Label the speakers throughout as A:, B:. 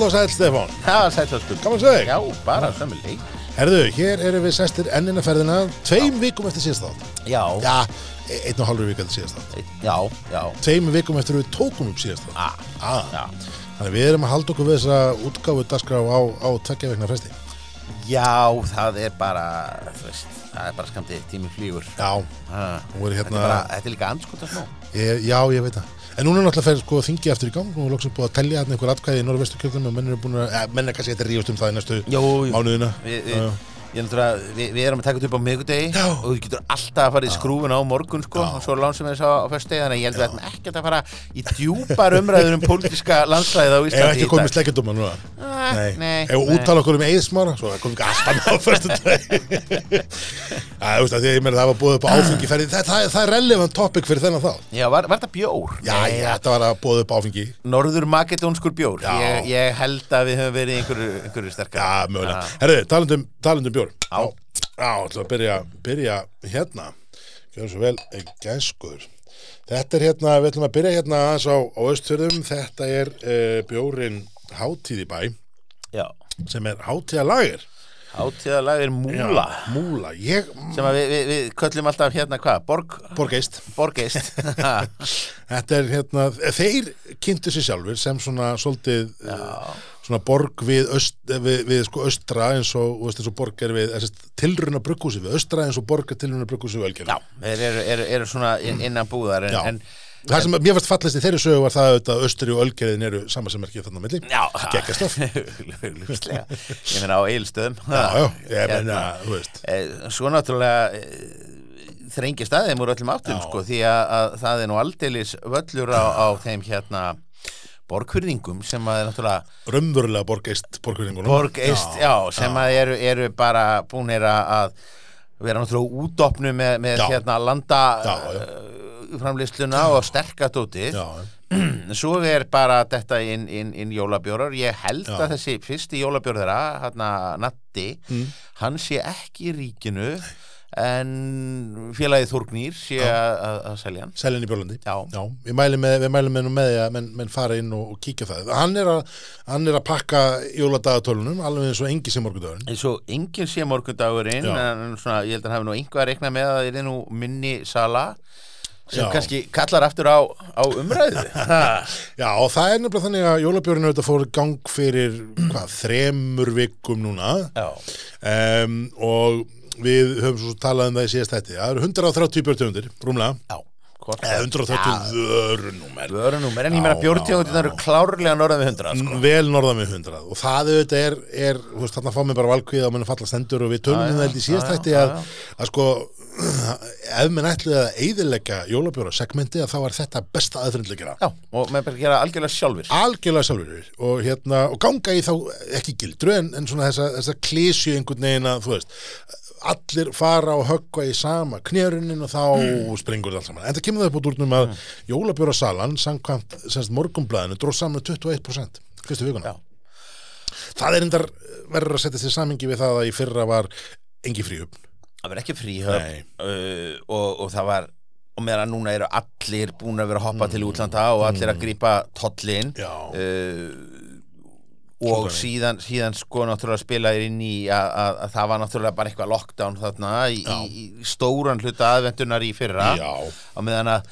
A: og sæl Stefán
B: Það var sætlastur
A: Gaman að sjá þig.
B: Já, bara sömu leik
A: Herðu, hér erum við sestir ennina ferðina Tveim vikum eftir síðast þátt
B: Já, já,
A: Já, e- einn og halvur vik eftir síðast þátt
B: já, já.
A: Tveim vikum eftir við tókum upp síðast þátt
B: Ah,
A: ah.
B: já.
A: Þannig að við erum að halda okkur við þessa útgáfu dagskrá á, á tveggja vegna fresti
B: já, það er bara þú veist, það er bara skamtið tími flýgur
A: Já,
B: Ha,
A: Nú er
B: Ah. þetta, er
A: hérna-
B: bara, þetta er líka andskota smá
A: ég, já, ég veit það En núna er náttúrulega fer sko þingi aftur í gang og loksum búið að telja hérna einhver atkvæði í Norrvesturkjöldum og menn eru búin að, ja, menn er kannski eitthvað rífust um það í næstu
B: Jú, jú.
A: mánuðina
B: Við,
A: Já,
B: við,
A: já.
B: ég er náttúrulega, við, við erum að taka þetta upp á miðgudegi
A: Já.
B: og þú getur alltaf að fara í skrúfuna á morgun sko,
A: Já.
B: og svo lánsum við þess á, á föstudegi þannig að ég held að þetta ekkert að fara í djúpar umræður um pólitíska landslæðið á
A: Ef
B: Íslandi
A: ekki komið sleggjandóma núna
B: Ah, nei,
A: Ef
B: nei.
A: úttala okkur um eigismára Svo komið ekki allt annað á fyrstu dag Það veist að því að ég meina það var búið
B: Ah.
A: upp á áfengi ferði það, það, það er relevant topic fyrir þennan þá
B: Já, var, var þetta bjór?
A: Já,
B: Nei,
A: já, þetta var að búið upp á áfengi
B: Norður makedónskur bjór
A: Já.
B: ég, ég held að við höfum verið í einhverju, einhverju sterkar
A: Já, mögulega
B: Ah.
A: Herðu, um, talandum, talandum bjór
B: Já.
A: Já, ætlum að byrja, byrja hérna Gjörum svo vel eh, gæskur Þetta er hérna, við ætlum að byrja hérna aðeins á, á Östfjörðum Þetta er uh, bjórin Hátíð í bæ
B: Já,
A: sem er hátíðalager
B: átíðalag er múla
A: Múla, ég
B: sem að við, við, við köllum alltaf hérna hvað, borg,
A: Borgeist
B: borgeist
A: Þetta er hérna, þeir kynntu sér sjálfur sem svona svolítið eh, svona borg við, öst, við, við sko östra eins og, þú veist, eins og borg er við tilruna brugghúsi við östra eins og borg er tilruna brugghúsi við
B: Já,
A: ölgerð
B: þeir eru, eru, eru svona inn- innan búðar en,
A: Já.
B: en
A: Það sem mér fannst fallist í þeirri sögu var það auðvitað að östri og ölgerðin eru sama sem er ekki þarna á milli
B: Já,
A: Geggjastöf.
B: Augljóslega. Ég meina á eilstöðum
A: Já, já, ég
B: Hérna.
A: meina, þú veist
B: Svo náttúrulega eh, þrengist að þeim úr öllum áttum sko, því að, að það er nú aldeilis völlur á, á þeim hérna borgfyrðingum sem að er náttúrulega
A: Raunverulega borgeist borgurningunum
B: Borg Eist, já, sem að eru, eru bara búnir að að vera náttúrulega útopnu með, með
A: Já.
B: hérna landa
A: Já, já.
B: uh, framlýsluna og sterkatóti
A: Já,
B: svo er bara þetta inn, inn, inn jólabjórar, ég held
A: Já.
B: að þessi fyrsti jólabjór þeirra, hérna Natti
A: Mm.
B: hann sé ekki í ríkinu en félagið Þorgnýr sé að, að, að selja hann
A: Selin í Björlandi
B: Já.
A: Já, við mælum með, við mælum með, nú með því að menn, menn fara inn og, og kíkja á það hann er, að, hann er að pakka jóladagatölunum alveg eins og engi sem morgundagurinn
B: eins og enginn sé morgundagurinn
A: Já.
B: en svona, ég held að hann hafi nú einhvað að rekna með að það er nú minni sala sem
A: Já.
B: kannski kallar aftur á, á umræðu Ha.
A: Já, og það er nefnilega þannig að jólabjörn auðvitað fór í gang fyrir hvað, þremur vikum núna
B: Já.
A: um, og við höfum svo talað um það í síðast þetta það eru 130 björntegundir, rúmlega Eh,
B: Já, hvort
A: Eða 130 vörunúmer
B: Vörunúmer, en ég meina
A: Já,
B: bjórtjóðin
A: já,
B: eru klárlega norðan við 100 sko.
A: vel norðan við 100 og það auðvitað er, er þú veist, þarna fá mér bara valkvið og menn falla stendur og við tölum
B: Já,
A: um
B: já,
A: það held í síðast
B: já,
A: þætti
B: já,
A: að,
B: já.
A: að sko ef menn ætluði að eyðileggja jólabjóra segmenti þá er þetta besta aðfrindlega gera
B: Já, og með bara gera algjörlega sjálfur
A: algjörlega sjálfur og, hérna, og ganga í þá ekki gildru en, en svona þessa, þessa klísju einhvern veginn að þú veist allir fara og höggva í sama knjörunin og þá
B: Mm.
A: springur það allt saman en það kemur það upp út úr um að mm. jólabjórasalan samkvæmt semst morgumblæðinu dróð saman 21% fyrstu vikuna
B: Já.
A: það er endar verður að setja sér samingi við það að í fyrra var engi fríhjöfn
B: Það verður ekki
A: Nei.
B: fríhöfn uh, og, og það var og meðan núna eru allir búin að vera að hoppa til útlanda og allir að grípa tollin
A: Já.
B: uh, og síðan, síðan sko náttúrulega spilaðir inn í að, að, að það var náttúrulega bara eitthvað lockdown þarna í,
A: Já.
B: í, í stóran hluta aðvendunar í fyrra
A: Já.
B: á meðan að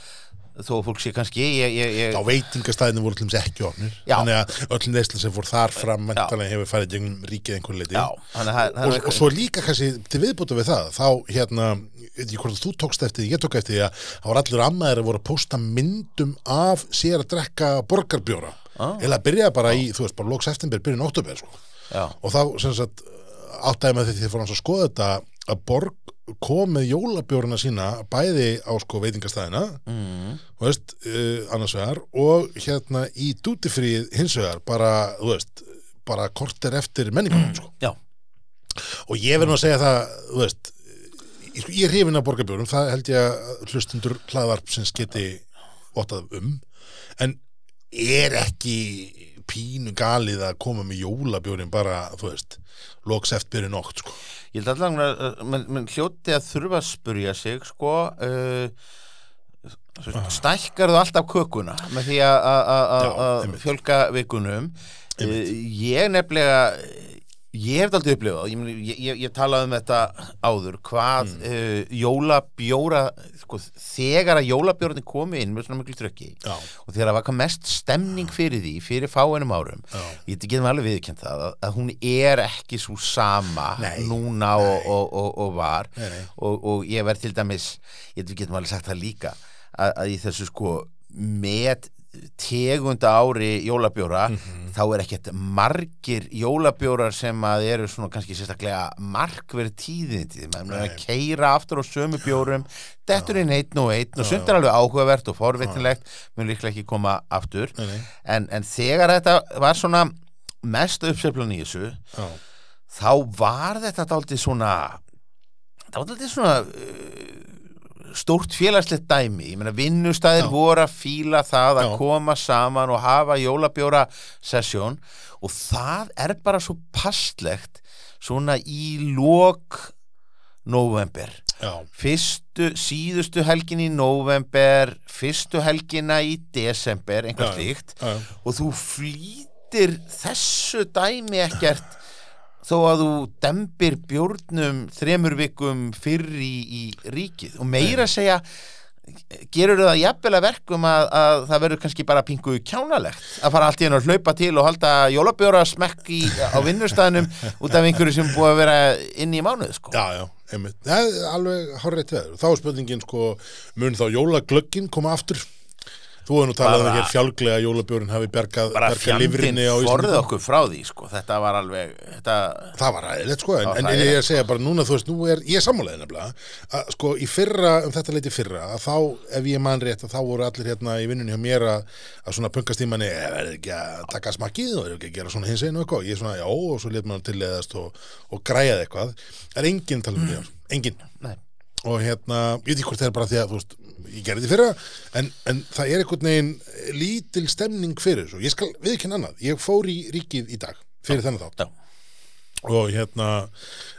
B: þó fólk sé kannski ég, ég, ég,
A: á veitingastæðinu voru allir ekki ofnir
B: Já.
A: þannig að öllum neysla sem fór þar fram mentalega hefur farið gegnum ríkið einhver leiti
B: já, þannig að það-
A: og,
B: það er
A: og
B: eitthvað-
A: svo líka kannski til viðbúta við það þá hérna, ég veit ekki hvort þú tókst eftir því, ég tók eftir því að það var allir ammaðir að voru að posta myndum af sér að drekka borgarbjóra
B: Ah.
A: eða að byrja bara í, þú veist, bara lóks eftir byrjun óttubér sko.
B: já,
A: og þá sem sagt áttæði með því því fór hans að skoða þetta að borg kom með jólabjórna sína bæði á sko veitingastæðina
B: mm,
A: þú veist, uh, annars vegar og hérna í dútifríð hins vegar bara, þú veist bara kortir eftir menningunum sko
B: já,
A: og ég verð nú að segja það þú veist, ég, sko, ég er hrifin af borgarbjórum það held ég að hlustundur hlaðvarp sem geti vottað um en er ekki pínu galið að koma með jólabjórin bara, þú veist loks eftir byrju nótt, sko
B: ég held allan að menn, menn hljóti að þurfa að spurja sig sko uh, stækkar þú alltaf kökuna með því að- að- að-
A: Ah. Já,
B: að
A: einmitt.
B: fjölga vikunum
A: Einmitt.
B: Eh, Ég nefnilega ég hef aldrei upplifað ég, meina, ég, ég, ég talaði um þetta áður hvað mm. jólabjóra sko, þegar að jólabjórarnir komu inn með svona miklu trökki
A: Já.
B: og þegar það var hvað mest stemning fyrir því fyrir fáinum árum
A: Já.
B: ég get ekki alveg viðkjönd það að, að hún er ekki svo sama
A: Nei.
B: núna Og, og, og, og var
A: Nei, nei.
B: Og, og ég verð til dæmis ég get ekki alveg sagt það líka að, að í þessu sko met tegunda ári jólabjóra
A: Mhm.
B: þá er ekkert margir jólabjórar sem að eru svona kannski sérstaklega markverð tíðindi maður er að keira aftur á sömu bjórum dettur inn einn og einn og sumt er alveg áhugavert og forvitnilegt mun líklega ekki koma aftur
A: Nei, nei.
B: En, en þegar þetta var svona mest uppseflan í þessu
A: Já.
B: þá var þetta dálítið svona dálítið svona uh, stórt félagslegt dæmi ég meina vinnustæðir
A: Já.
B: voru að fíla það að
A: Já.
B: koma saman og hafa jólabjóra sessjón og það er bara svo pastlegt svona í lok november
A: Já.
B: fyrstu, síðustu helgin í november, fyrstu helgina í desember,
A: Já, já.
B: einhvern slíkt
A: Já.
B: og þú flýtir þessu dæmi ekkert þó að þú dembir bjórnum þremur vikum fyrr í, í ríkið og meira að segja gerur það jafnvel að verkum að, að það verður kannski bara pingu kjánalegt að fara allt í hennu að hlaupa til og halda jólabjóra smekk í, á vinnustæðnum út af einhverju sem búið að vera inn í mánuð sko.
A: Já, já, einmitt. Það er alveg horrið veður. Þá er spurningin, sko, mun þá jólaglöggin koma aftur? Þú hefur nú talað um
B: Bara-
A: hér fjálglega að jólabjórin hafi bergað,
B: bara
A: bergað
B: fjandinn
A: lifrinni á
B: forðið
A: Íslandi.
B: okkur frá því sko. þetta var alveg þetta,
A: Það var ræðilegt, sko, en,
B: Það var
A: en
B: hræðilegt,
A: ég er að segja bara núna, þú veist, nú er, ég er sammálaðið nefnilega, að sko, í fyrra, um þetta leiti fyrra, að þá, ef ég man rétt, að þá voru allir hérna í vinnunni hjá mér að, að svona punkastímanni, er það "Eh, ekki að taka smakkið og er ekki að gera svona hins einu og eitthvað, ég er svona, já, og svo let maður tilleðast og, og græjaði eitthvað, það er enginn talað
B: Mm.
A: um þetta, enginn.
B: nei,
A: og hérna, ég veit ekki hvort það er bara því að þú veist, ég gerði því fyrra en, en það er einhvern veginn lítil stemning fyrir þessu, ég skal við ekki annað ég fór í ríkið í dag fyrir þennan þátt
B: já.
A: og hérna,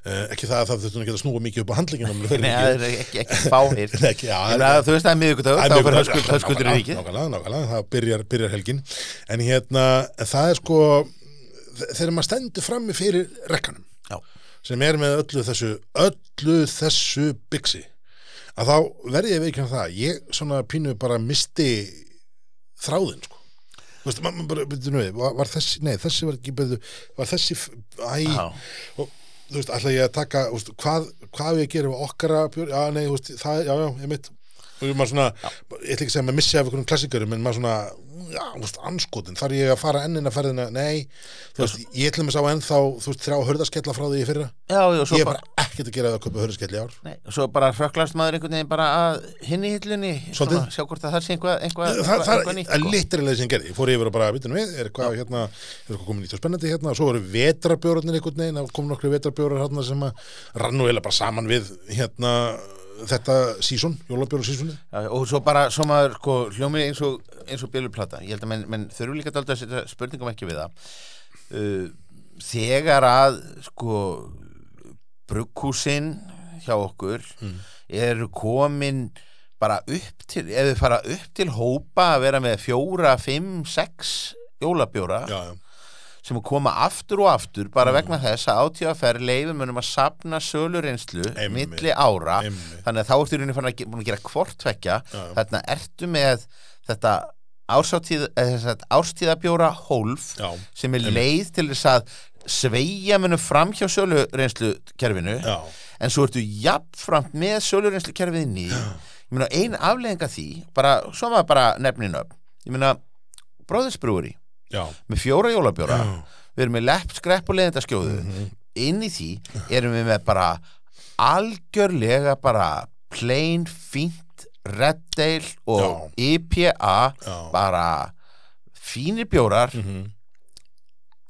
A: eh, ekki það að það þurftum að geta snúa mikið upp á handlingina um
B: nei, það er ekki, ekki fáir
A: Nei, ekki, já,
B: Ég meina, þú veist það er miðvikudagur, þá fyrir höskuld, höskuldur í ríkið
A: Nákvæmlega, nákvæmlega, það byrjar, byrjar helgin en hérna, það er sko þegar maður stendur frammi fyrir rekkanum
B: Já.
A: sem er með öllu þessu öllu þessu byggsi að þá verði ég veikjum það ég svona pínu bara misti þráðin sko Þú Veist, maður bara, byrju, nú, var, var þessi, nei, þessi var ekki, byrju, var þessi, f- æ,
B: Já.
A: og, þú veist, ætla ég að taka, þú veist, hvað, hvað á ég að gera við okkara bjór, já, nei, þú veist, það, já, já, ég mitt, og maður svona, ég ætla ekki að segja að maður missi af einhverjum klassikarum, en maður svona, já, þú veist, anskotin, þarf ég að fara ennina ferðina, nei, þú veist, ég ætla mig sá ennþá, þú veist, þrjá hörðaskella frá því í fyrra,
B: Já, já, og svo
A: ég er
B: bara,
A: bara ekkert að gera það að kaupa hörðaskelli í ár.
B: nei, og svo bara hrökklast maður einhvern veginn bara að hinni hillunni
A: Svolítið.
B: svona, sjá hvort að það sé einhvað einhvað
A: Það, það
B: eitthvað nýtt,
A: er
B: sko.
A: litrilega sem gerði, ég fór yfir og bara, vitinu við, er hvað hérna, er eitthvað komin nýtt og spennandi hérna, og svo eru vetrabjórarnir einhvern veginn, það kom nokkru vetrabjórar hérna sem að rannu heila bara saman við hérna þetta sísón, jólabjórarsísónu.
B: Já, og svo bara, svo maður sko, hljómið eins og, eins og bjöluplata ég held að menn, menn þurfi líka dálítið að setja spurningum ekki við það uh, þegar að sko brugghúsin hjá okkur
A: Mm.
B: eru komin bara upp til, ef við fara upp til hópa að vera með fjóra, fimm, sex jólabjóra
A: Já, Mm. já,
B: sem koma aftur og aftur bara vegna þess að átíðaferð leifum munum að sapna sölureynslu
A: Einmitt.
B: milli ára
A: Einmitt.
B: þannig að þá ertu í rauninni farin að ge- búin að gera hvort tvekja
A: Já, já.
B: þarna ertu með þetta ársatíð, eða þess að árstíðabjóra hólf
A: já,
B: sem er leið til þess að sveigja munum fram hjá sölureynslu kerfinu
A: já,
B: en svo ertu jafnframt með sölureynslu kerfið ný ég meina ein afleðing af því bara, svo maður bara nefnin upp ég meina, bróðisbrúri
A: já,
B: með fjóra jólabjóra
A: Já. Mhm.
B: við erum með lepp, skrepp og leðindaskjóðu inn í því erum við með bara algjörlega bara plain, fínt Red Ale og IPA
A: Já.
B: bara fínir bjórar
A: mhm,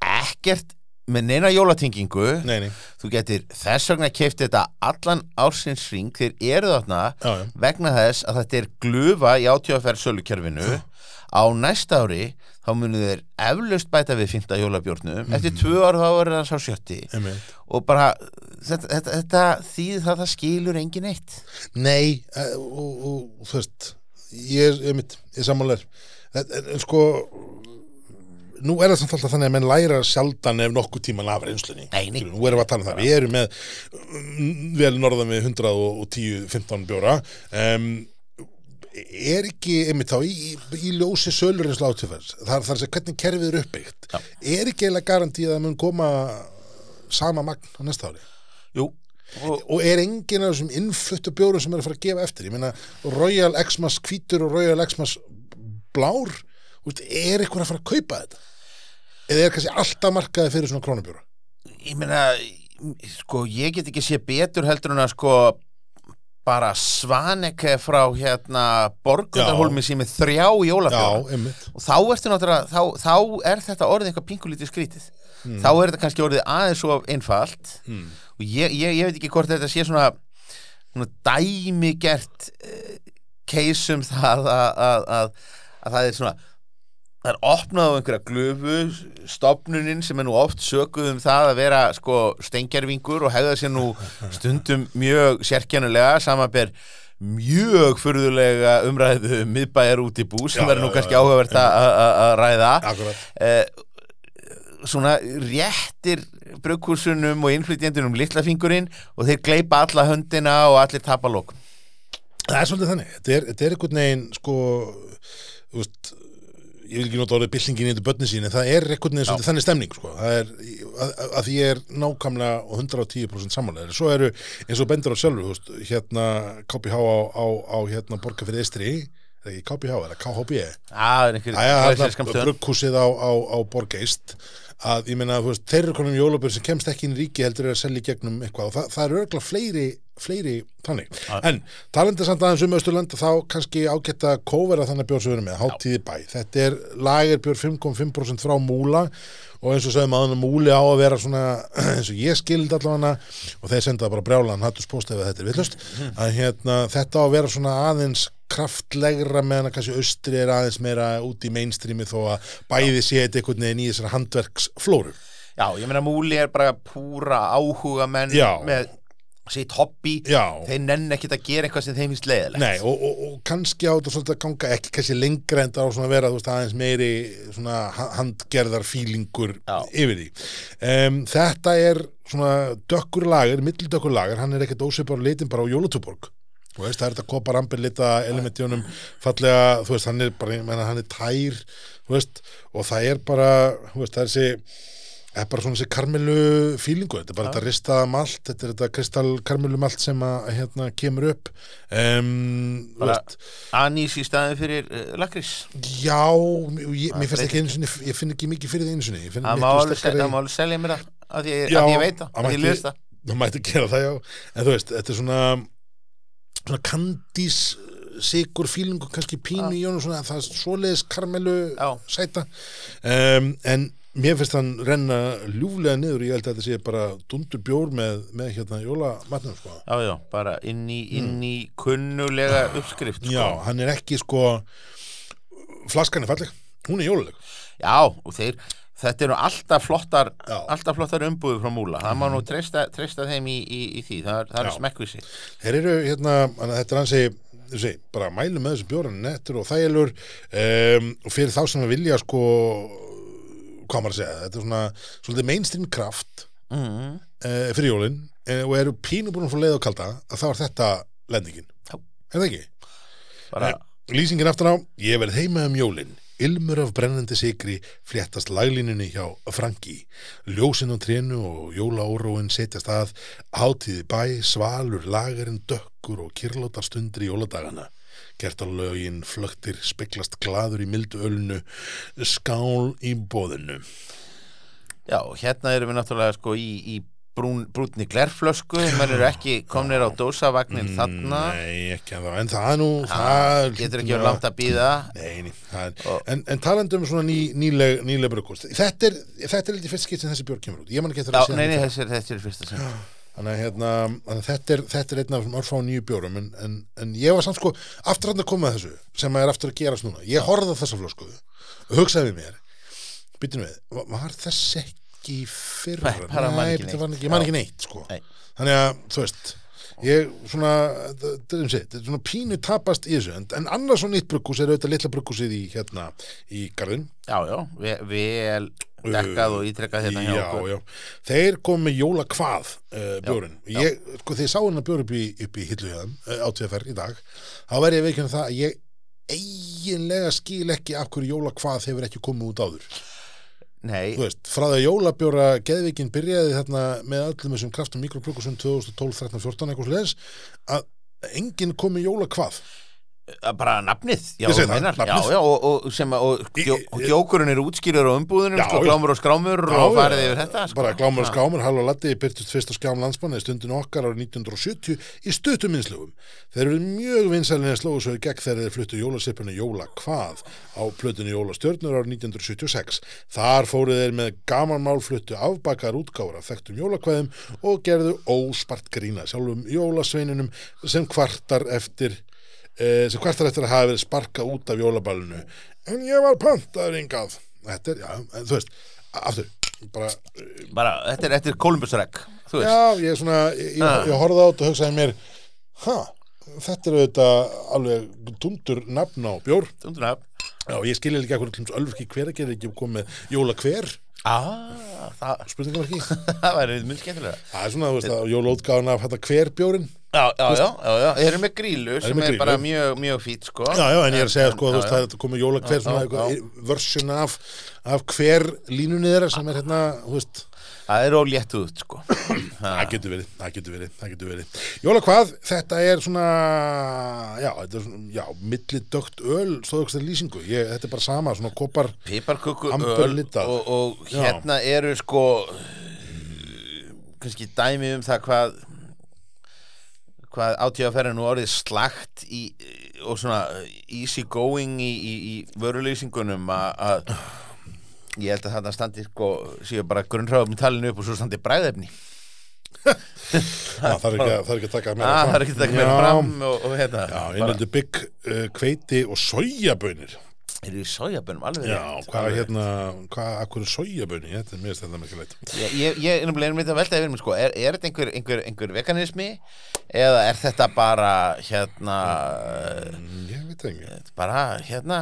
B: ekkert með neina jólatingingu
A: nei, nei,
B: þú getur þess vegna keift þetta allan ársins ring þeir eru þarna
A: já, já,
B: vegna þess að þetta er glufa í átjóðaferð sölukerfinu á næsta ári þá munu þeir eflaust bæta við fymta jólabjórnum eftir tvö ár þá verður það sá sjötti
A: Mhm. einmitt.
B: og bara þetta, þetta, þetta þýð það það skilur engin eitt
A: Nei, eh, og, og, og þú veist, ég er, einmitt, ég sammálar, en en sko, nú er það samt alltaf þannig að menn læra sjaldan ef nokkuð tíman af reynslunni
B: Nei, nei.
A: Skilur, nú erum við að tala um það, við erum með mm, vel norðan við 110-15 bjóra um, er ekki einmitt þá í, í- í ljósi sölurinsla átífers þar, þar sem hvernig kerfið er uppbyggt
B: Já.
A: er ekki eiginlega garantíð að mun koma sama magn á næsta ári
B: Jú, og,
A: og er enginn af þessum innfluttu bjórum sem er að fara að gefa eftir ég meina Royal Xmas hvítur og Royal Xmas blár úst, er eitthvað að fara að kaupa þetta eða er kannski alltaf markaði fyrir svona krónubjóra
B: ég meina sko, ég get ekki sé betur heldur en að sko bara Svaneke frá hérna Borgundarhólmi sem er þrjá í jólabjóra
A: já, einmitt
B: og þá, ertu náttúrulega- þá, þá er þetta orðið eitthvað pingulítið skrítið
A: Hmm.
B: þá er þetta kannski orðið aðeins of einfalt
A: mm.
B: og ég, ég, ég veit ekki hvort þetta sé svona, svona dæmigert eh, case um það að, að, að, að það er svona það er opnað á einhverja glöfu stopnunin sem er nú oft sökuð um það að vera sko stengjarvingur og hegða sér nú stundum mjög sérkennulega samanber mjög furðulega umræðu um miðbæjar út í bú sem
A: Já,
B: verður
A: já,
B: nú kannski
A: já, já.
B: áhugavert að- að að- að ræða
A: akkurat
B: eh, svona réttir brugghúsunum og innflytjendunum litla fingurinn og þeir gleipa alla höndina og allir tapa lókum
A: það er svolítið þannig, þetta er, þetta er einhvern veginn sko þú veist, ég vil ekki nota orðið byltingin í þetta börnin sín en það er einhvern veginn svolítið þannig stemning sko. það er, að, að að ég er nákvæmlega og 110% samanlega svo eru, eins og bendur á sjálfur þú veist, hérna KPH á, á, á hérna, borga fyrir Eistri er það ekki KPH, er það KHB
B: Það er einhver klassískan
A: Æja,
B: stöðun.
A: brugghúsið á, á, á borgeist að ég meina, þú veist, þeir eru konum jólabur sem kemst ekki inn í ríki heldur er að selja í gegnum eitthvað og það, það eru örgulega fleiri, fleiri þannig. En talandi samt aðeins um Östurland þá kannski ágætta kóvera þannig bjór sem við erum með, hátíði bæ. Þetta er lagerbjór 5,5% frá múla og eins og segðum að hann múli á að vera svona eins og ég skild allavega og þeir senda bara brjálan hattus postið ef þetta er villust að hérna, þetta á að vera svona aðeins kraftlegra meðan að kannski austri er aðeins meira út í mainstreami þó að bæði sé þetta einhvern veginn í þessar handverksflóru
B: Já, ég meina múli er bara púra áhuga menn
A: Já.
B: með sitt hobby
A: Já,
B: þeir nenn ekkit að gera eitthvað sem þeim finnst leiðilegt
A: nei, og, og, og kannski á þetta svolítið að ganga ekki kannski lengra en það á svona að vera þú veist, aðeins meiri svona ha- handgerðar fílingur
B: Já.
A: yfir því um, Þetta er svona dökkur lager, mittildökkur lager hann er ekkert ósveipar á litin bara á Jólutuborg Þú veist, það er þetta kopar ambir lita elementjónum fallega, þú veist, hann er bara, ég meina, hann er tær, þú veist, og það er bara, þú veist, það er þessi, það er bara svona þessi karmelu fílingu, þetta er bara þetta ristaða malt, þetta er þetta kristall karmelu malt sem að, hérna, kemur upp, um, þú
B: Bara-
A: veist,
B: Anís í staðin fyrir uh, lakrís
A: já, ég, mér finnst ekki einu sinni, ég finn ekki mikið fyrir það einu sinni, ég finn
B: Það má
A: miklu
B: alveg
A: sterkari-
B: selja- það má alveg selja mér það að ég,
A: Já,
B: að ég veit það,
A: það
B: að ég
A: mætti-
B: les það
A: það mætti gera það já en þú veist, þetta er svona svona kandís sigur fílingu, kannski pínu í honum svona, það er svoleiðis karmelu
B: Já.
A: sæta um, en mér finnst hann renna ljúflega niður ég held að þetta sé bara dundur bjór með, með hérna jólamatnum sko.
B: Já, já, bara inn í, inn í kunnulega uppskrift sko.
A: Mm. já, hann er ekki sko flaskan er falleg, hún er jóluleg
B: Já, og þeir, þetta eru alltaf flottar
A: Já. Mm.
B: alltaf flottar umbúður frá Múla það má nú treysta, treysta þeim í, í, í því það, er- það
A: Já.
B: er smekkvísi
A: Þeir eru hérna, þannig að þetta er hansi sé, bara mælu með þessu bjóran nettur og þægjálur um, og fyrir þá sem að vilja sko hvað maður að segja, þetta er svona svolítið mainstream kraft
B: mm.
A: uh, fyrir jólin uh, og eru pínu búin að fá leið og kalda að þá er þetta lendingin
B: Já.
A: er það ekki?
B: bara,
A: Nei. Lýsingin aftur á, ég verð heima um jólin Ilmur af brennandi sigri fléttast laglínunni hjá Franki. Ljósin á trénu og jólaóróin setjast að, hátíði bæ, svalur, lagarinn dökkur og kyrlótar stundir í jóladagana. Gertalögin flögtir speklast glaður í mildu ölnu, skál í bóðinu.
B: já, og hérna erum við náttúrulega sko í, í brún, brúnni glerflösku menn eru ekki komnir á dósavagnin þarna
A: Mm, Nei, ekki en það, en það er nú, það...
B: það getur ekki verið langt að býða
A: Nei, nei, það er,
B: Og-
A: en, en talandi um svona ný, nýleg, nýleg brugghús þetta er, þetta er eitthvað fyrst skipt sem þessi björg kemur út ég man ekki eftir
B: Já,
A: að
B: nei,
A: segja
B: nei, þessi er, þessi er fyrsta sem
A: þannig að hérna, þannig að þetta, er, þetta er einn af þessum örfá nýju bjórum en, en, en ég var samt sko aftur að koma að þessu sem er aftur að gerast núna ég horfði á þessa flösku og hugsaði við mér býtum við, var, var þess ekki fyrra
B: Nei, bara man ekki
A: býttu, var
B: neitt.
A: ég man ekki neitt sko
B: Nei.
A: þannig að, þú veist ég svona, þetta er um sitt, þetta er svona pínu tapast í þessu, en, en annars svona nýtt brugghús er auðvitað litla brugghúsið í hérna í garðin
B: já, já, ve vel dekkað og ítrekkað hérna hjá
A: já,
B: okkur
A: já, þeir kom með jóla hvað uh, bjórin, ég, sko þegar ég sá hennar bjór upp í, upp í hillu hérna, uh, átvefær í dag þá verði ég veikjum það að ég eiginlega skil ekki af hverju jóla hvað hefur ekki komið út áður
B: Nei,
A: þú veist, frá því að jólabjóra geðvikin byrjaði þarna með öllum þessum kraftum mikrobrúkusum 2012, 13, 14 eitthvað sliðis að enginn kom í jóla hvað
B: bara nafnið já,
A: Ég segi
B: þú
A: það,
B: meinar,
A: nafnið.
B: Já, já, og, og, sem, að- og,
A: Í-
B: djó, og djókurinn eru útskýrur á umbúðunum
A: Já,
B: sko,
A: já.
B: glámur og skrámur
A: Já,
B: og farið
A: já,
B: yfir þetta sko.
A: bara glámur og
B: Já.
A: skámur, hall og latti byrtist fyrst á skjám landsmanna í stundin okkar árið 1970 í stuttuminslögum þeir eru mjög vinsalinn að slóðu svo í gegn þegar þeir fluttu jólasipinu jóla hvað á plötunni jólastjörnur árið 1976 þar fóru þeir með gamanmál fluttu afbakar útgára þekktum jólakvæðum og gerðu óspart grína sjálfum jólasveininum sem kvartar eftir eh, sem kvartar eftir að hafa verið sparkað út af jólaballinu en ég var pantaður yngað þetta er, já, en þú veist aftur, bara
B: sko. bara, þetta er, þetta er Kolumbusreg þú veist,
A: já, ég er svona, ég, ég, ég horfði á þetta og hugsaði mér, ha þetta er auðvitað alveg tundur nafn á bjór,
B: stundum að
A: já, ég skilja líka hvernig klums ölfki hver að gera ekki komið jóla hver
B: ah, það,
A: spurningamarki,
B: það væri mun skemmtilega
A: það er svona, þú veist, að jólaútgáðan af þetta hver bjórin
B: já, já, já, já, já, ég er með grílu sem
A: með
B: er bara
A: grýlu.
B: mjög, mjög fít sko.
A: Já, já, en ég er að segja sko, þú
B: já,
A: veist,
B: já.
A: það er komið jóla hver svona
B: já, já.
A: eitthvað versjun af, af hver línunni þeirra sem er hérna, þú veist
B: það er óléttuð sko.
A: Það getur verið, það getur verið, það getur verið. Jóla hvað, þetta er svona, já, þetta er svona, já, milli dögt öl, stóðugst er lýsingu, ég, þetta er bara sama, svona kopar,
B: piparköku öl
A: Amberlitað.
B: og, og
A: Já.
B: hérna eru sko kannski dæmi um það hvað hvað átíðaferðin nú orðið slagt í, og svona easy going í, í, í vörulýsingunum að- að ég held að þarna standi sko síðan bara grunnráðum talinu upp og svo standi bræðefni
A: já, það er ekki, að- það er ekki að taka meira
B: að
A: fram.
B: Ah, það er ekki takk meira
A: Já,
B: fram og, og hérna
A: Já,
B: bara,
A: innlöndu bygg, uh, hveiti og sojabönir.
B: eru í sójabönum alveg
A: Já,
B: rétt,
A: hvað
B: alveg
A: er hérna, hvað, akkur er sojabönir, þetta er mér stæðan með ekki leitt.
B: Ég, ég, ég er nefnilega einmitt að velta yfir mér sko, er, er þetta einhver, einhver, einhver veganismi eða er þetta bara hérna
A: Mm, Ég veit það ekki.
B: bara hérna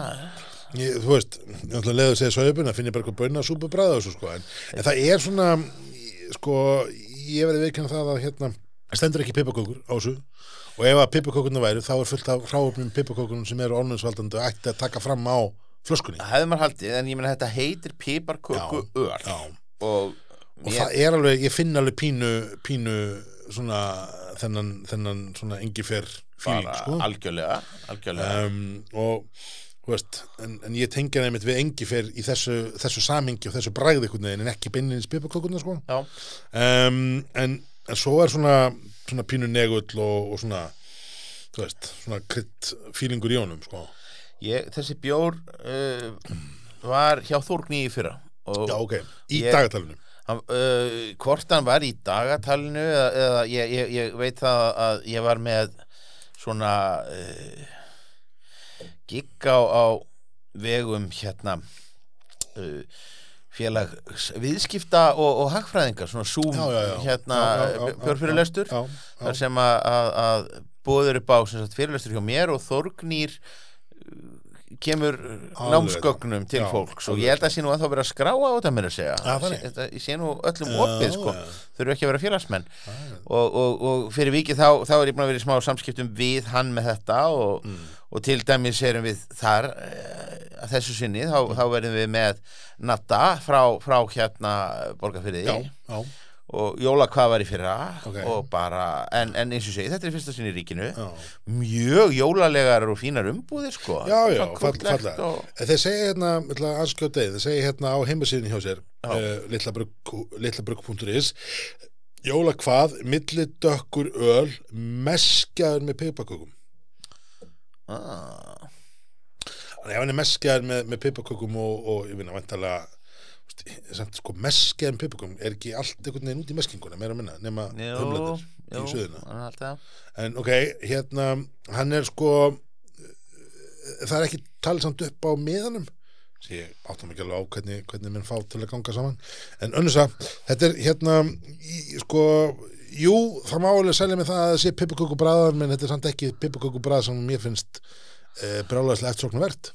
A: Ég, þú veist, náttúrulega leður að segja sojabönir, finn ég bara eitthvað bönasúpubræða og svo, sko, en, en það er svona, sko, ég verði veikinn það að, hérna, stendur ekki pipakökur á þessu og ef að pipakökurna væru, þá er fullt af hráöfnum pipakökunum sem eru ónæðsvaldandi og ætti að taka fram á flöskunni.
B: hefði maður haldið en ég meina þetta heitir piparköku öl
A: Já, og
B: og, mér,
A: það er alveg, ég finn alveg pínu, pínu, svona, þennan, þennan, svona, engi fíling,
B: bara
A: sko.
B: algjörlega, algjörlega.
A: um, og þú veist, en, en ég tengja þeim við engi fyrr í þessu, þessu samingi og þessu bræði einhvern veginn en ekki beinlinins pipakökuna sko.
B: já,
A: um, en, en svo er svona, svona pínu negull og, og svona þú veist, svona krydd fílingur í honum sko.
B: ég, þessi bjór uh, var hjá Þórgni í fyrra og
A: já ok, í
B: Ég-
A: dagatalinu
B: hann, uh, hvort hann var í dagatalinu eða, eða ég, ég, ég veit það að ég var með svona uh, gigg á, á vegum hérna uh, félag s- viðskipta og, og hagfræðinga svona Zoom
A: já, já, já.
B: hérna
A: Já, já, já, já,
B: björfyrirlestur
A: já, já,
B: þar sem að, að, að búður upp á sem sagt, fyrirlestur hjá mér og Þorgnýr uh, kemur
A: Alveg.
B: námsgögnum til
A: Já,
B: fólks og ég held að sé nú að þá verið að skráa á þetta mér að segja
A: Já, þannig.
B: Sé- þetta- ég sé nú öllum
A: Já,
B: opið sko
A: já.
B: þurfu ekki að vera félagsmenn og, og, og fyrir vikið þá, þá er ég búin að vera í smá samskiptum við hann með þetta og,
A: Mm.
B: og til dæmis erum við þar eh, að þessu sinni þá,
A: Mm.
B: þá verðum við með Natta frá, frá hérna borgarfyrði
A: já, já,
B: og Jóla hvað var í fyrra
A: Ok.
B: og bara, en, en eins og segi þetta er í fyrsta sinni í ríkinu
A: já.
B: mjög jólalegar og fínar umbúðir sko
A: Já, já,
B: Svona
A: fall,
B: krúttlegt
A: falla
B: og,
A: Þeir segja hérna, ég ætla að anskjóta þeir segja hérna á heimasíðin hjá sér
B: Já.
A: uh, litlabrugg.is Jóla hvað, milli dökkur öl meskjaður með pipakökum
B: ah,
A: Þannig ef hann er meskjaður með, með pipakökum og, og ég finna vantalega samt sko meskjaður með pipakökum er ekki allt einhvern veginn út í meskinguna meira að minna, nema
B: jú,
A: humlandir
B: jú,
A: í suðuna
B: hann er alltaf-
A: En ok, hérna, hann er sko eh, það er ekki talið samt upp á miðanum sem ég áttum ekki alveg á hvernig, hvernig minn fá til að ganga saman en önnur það, þetta er hérna í, sko jú, það má alveg selja mig það að það sé pippukökubræðan, menn þetta er samt ekki pippukökubræð sem mér finnst e, brjálæðislega eftirsóknarvert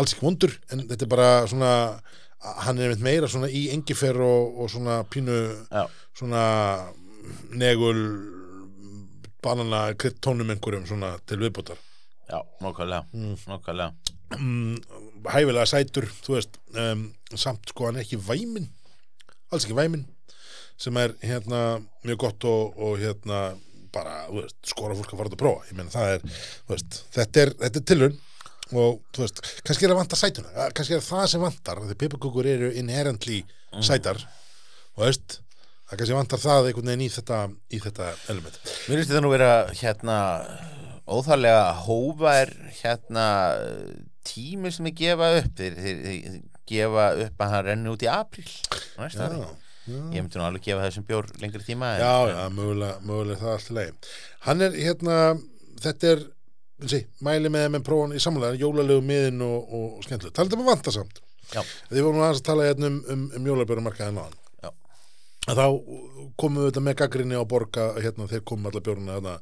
A: alls ekki vondur, en þetta er bara svona hann er einmitt meira svona í engifer og, og svona pínu
B: Já.
A: svona negul banana kryddtónum einhverjum svona til viðbútar
B: Já, nokkulega,
A: Mm.
B: nokkulega
A: mm, hæfilega sætur þú veist, um, samt sko hann er ekki væmin alls ekki væmin sem er hérna mjög gott og, og hérna bara, þú veist, skora fólk að fara út að prófa ég meina það er, þú veist, þetta er, þetta er tilhun og þú veist, kannski er að vanta sætuna eh, kannski er það sem vantar, því pipakúkur eru inherently sætar þú veist, það kannski vantar það einhvern veginn í þetta, í þetta element
B: Mér finnst þetta nú vera hérna óþarlega hófar hérna tími sem ég gefa upp þeir, þeir, þeir gefa upp að hann renni út í apríl á næsta ári. Ég myndi nú alveg gefa þessum bjór lengri tíma en,
A: já, já, mögulega, mögulega það er allt í lagi hann er hérna, þetta er sí, mæli með með prófan í samlega jólalegu miðin og, og skemmtileg talandi um að vanta samt
B: Já.
A: því vorum nú aðeins að tala hérna um, um, um jólabjörnumarkaðin áðan
B: Já.
A: Að þá komum við þetta með gaggrinni á borga hérna, þeir komum allar bjórna hérna,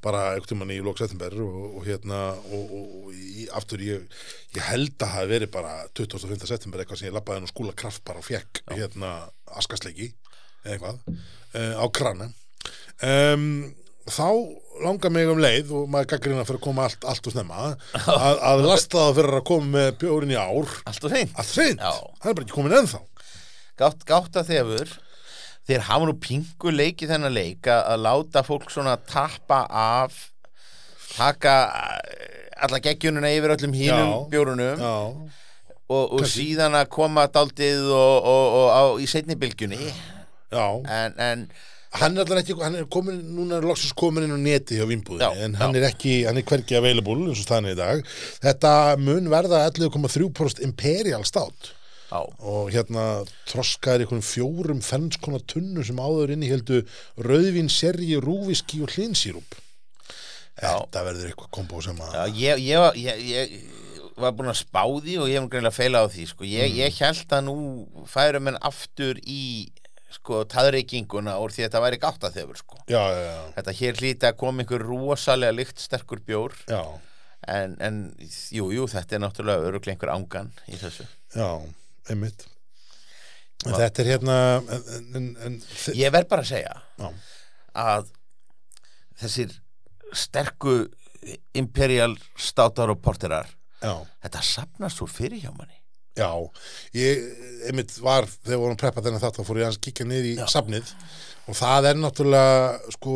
A: bara einhvern tímann í lók september og, og hérna og, og, og í, aftur ég, ég held að hafi verið bara 25. september eitthvað sem ég labbaði nú skúla kraft bara og fekk hérna askasleiki eða eitthvað uh, á krana um, þá langar mig um leið og maður gaggrina fyrir að koma allt, allt og snemma að, að lasta það fyrir að koma með bjórin í ár
B: allt og þeim
A: að hreint,
B: Já.
A: hann er bara ekki komin ennþá
B: gátt, gátt að þefur þeir hafa nú pingu leikið þennan leik að, að láta fólk svona tappa af taka eh, alla geggjununa yfir öllum hínum
A: Já.
B: bjórunum
A: Já.
B: og, og
A: Kannski.
B: síðan að koma daldið og, og, og, á, í seinni bylgjunni
A: Já,
B: en, en
A: hann er allan ekki hann er komin, núna er loksins komin inn á neti hjá Vimbuði,
B: Já,
A: en hann
B: já.
A: er ekki hann er hvergi available eins og þannig í dag þetta mun verða 11,3% imperial stát
B: á,
A: og hérna troskaðir einhvern fjórum fennskona tunnu sem áður inn í heldu rauðvin, sergi, rúviski og hlinsýrúb
B: Já.
A: þetta verður eitthvað kombo sem að
B: já, ég, ég, var- ég, ég var búin að spá því og ég hef greinlega feila á því sko. ég,
A: Mm.
B: ég held að nú færum menn aftur í sko, taðreikinguna úr því að þetta væri gátt að þefur sko.
A: já, já, já,
B: þetta hér hlýta að koma einhver rosalega lykt sterkur bjór
A: já,
B: en, en jú, jú, þetta er náttúrulega öruglega einhver ángan í þessu
A: já einmitt en þetta er hérna en, en, en, en, þi-
B: ég verð bara að segja
A: já,
B: að þessir sterku imperial státar og porterar
A: já
B: þetta sapnast úr fyrir hjá manni
A: Já, ég einmitt var þegar við vorum að preppa þennan þátt þá fór ég aðeins að kíkja niður í safnið og það er náttúrulega sko,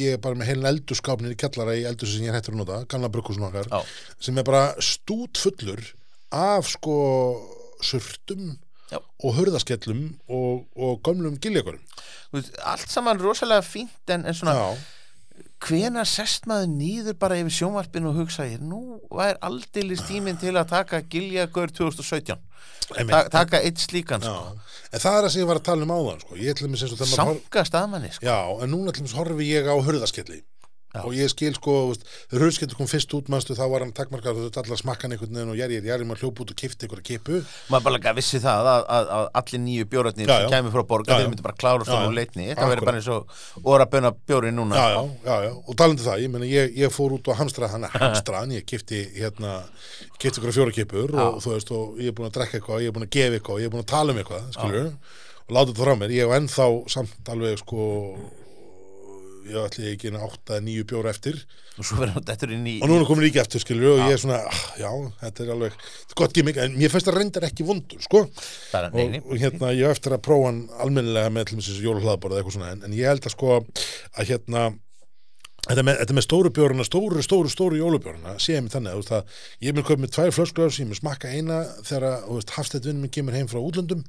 A: ég er bara með heilin eldurskapnin í kjallara í eldur sem ég er hættur að nota gamla brugghúsin okkar,
B: Já.
A: sem er bara stút fullur af sko surtum
B: Já.
A: og hurðaskellum og, og gömlum giljakurum
B: Þú veist, allt saman rosalega fínt en, en svona,
A: Já,
B: hvenar sest maður nýður bara yfir sjónvarpinu og hugsa ég, nú var aldeilis tíminn til að taka Giljagur 2017 Ta
A: einmitt
B: taka eitt slíkan
A: Já.
B: sko.
A: En það er það sem ég var að tala um áðan sko. Ég ætlum eins og þegar maður horf-
B: sankast að manni sko.
A: Já, en núna til dæmis horfi ég á hurðaskelli
B: Já.
A: og ég skil sko, þú veist, þegar hurðaskelli kom fyrst út mannstu þá var hann takmarkað og þau allar smakkan einhvern veginn og jærið, jærið maður hljóp út og kipti einhverja kipu
B: maður bara líka vissi það að, að, að allir nýju bjórarnir
A: Já,
B: sem
A: já.
B: kæmi frá
A: Já,
B: borga
A: já.
B: þeir myndi bara klára
A: Já, já.
B: svona úr leitni þetta verður
A: Akkúrat.
B: bara eins og óra bönna bjórin núna
A: já, já, já, já, og talandi það, ég meina ég, ég fór út og hamstraði hann, hamstraðan ég kipti hérna, kipti einhverja fjóra kipur og þú veist, og ég er búin að drekka eitthvað, ég er búin að gefa eitthvað, ég er búin að tala um eitthvað skilur, og láta þetta frá mér, ég hef ennþá samt alveg sko ég ætli ekki einu átta eða níu bjóra eftir
B: og svo verður þetta inn í
A: og núna komin ríki aftur skilur og ég er svona, ah, já, þetta er alveg þetta er gott gimmick, en mér finnst það reyndar ekki vondur sko,
B: bara,
A: og,
B: nei, nei,
A: og hérna ég á eftir að prófa hann almennilega með til þessu jólahlaðbara eða eitthvað svona, en, en ég held að sko að hérna Þetta með, þetta með stóru bjórna, stóru, stóru, stóru jólubjórna, séum við þannig, þú veist að ég mun köpa með tvær flöskur, ég mun smakka eina þegar, að, þú veist, hafstættvinni minn kemur heim frá útlöndum,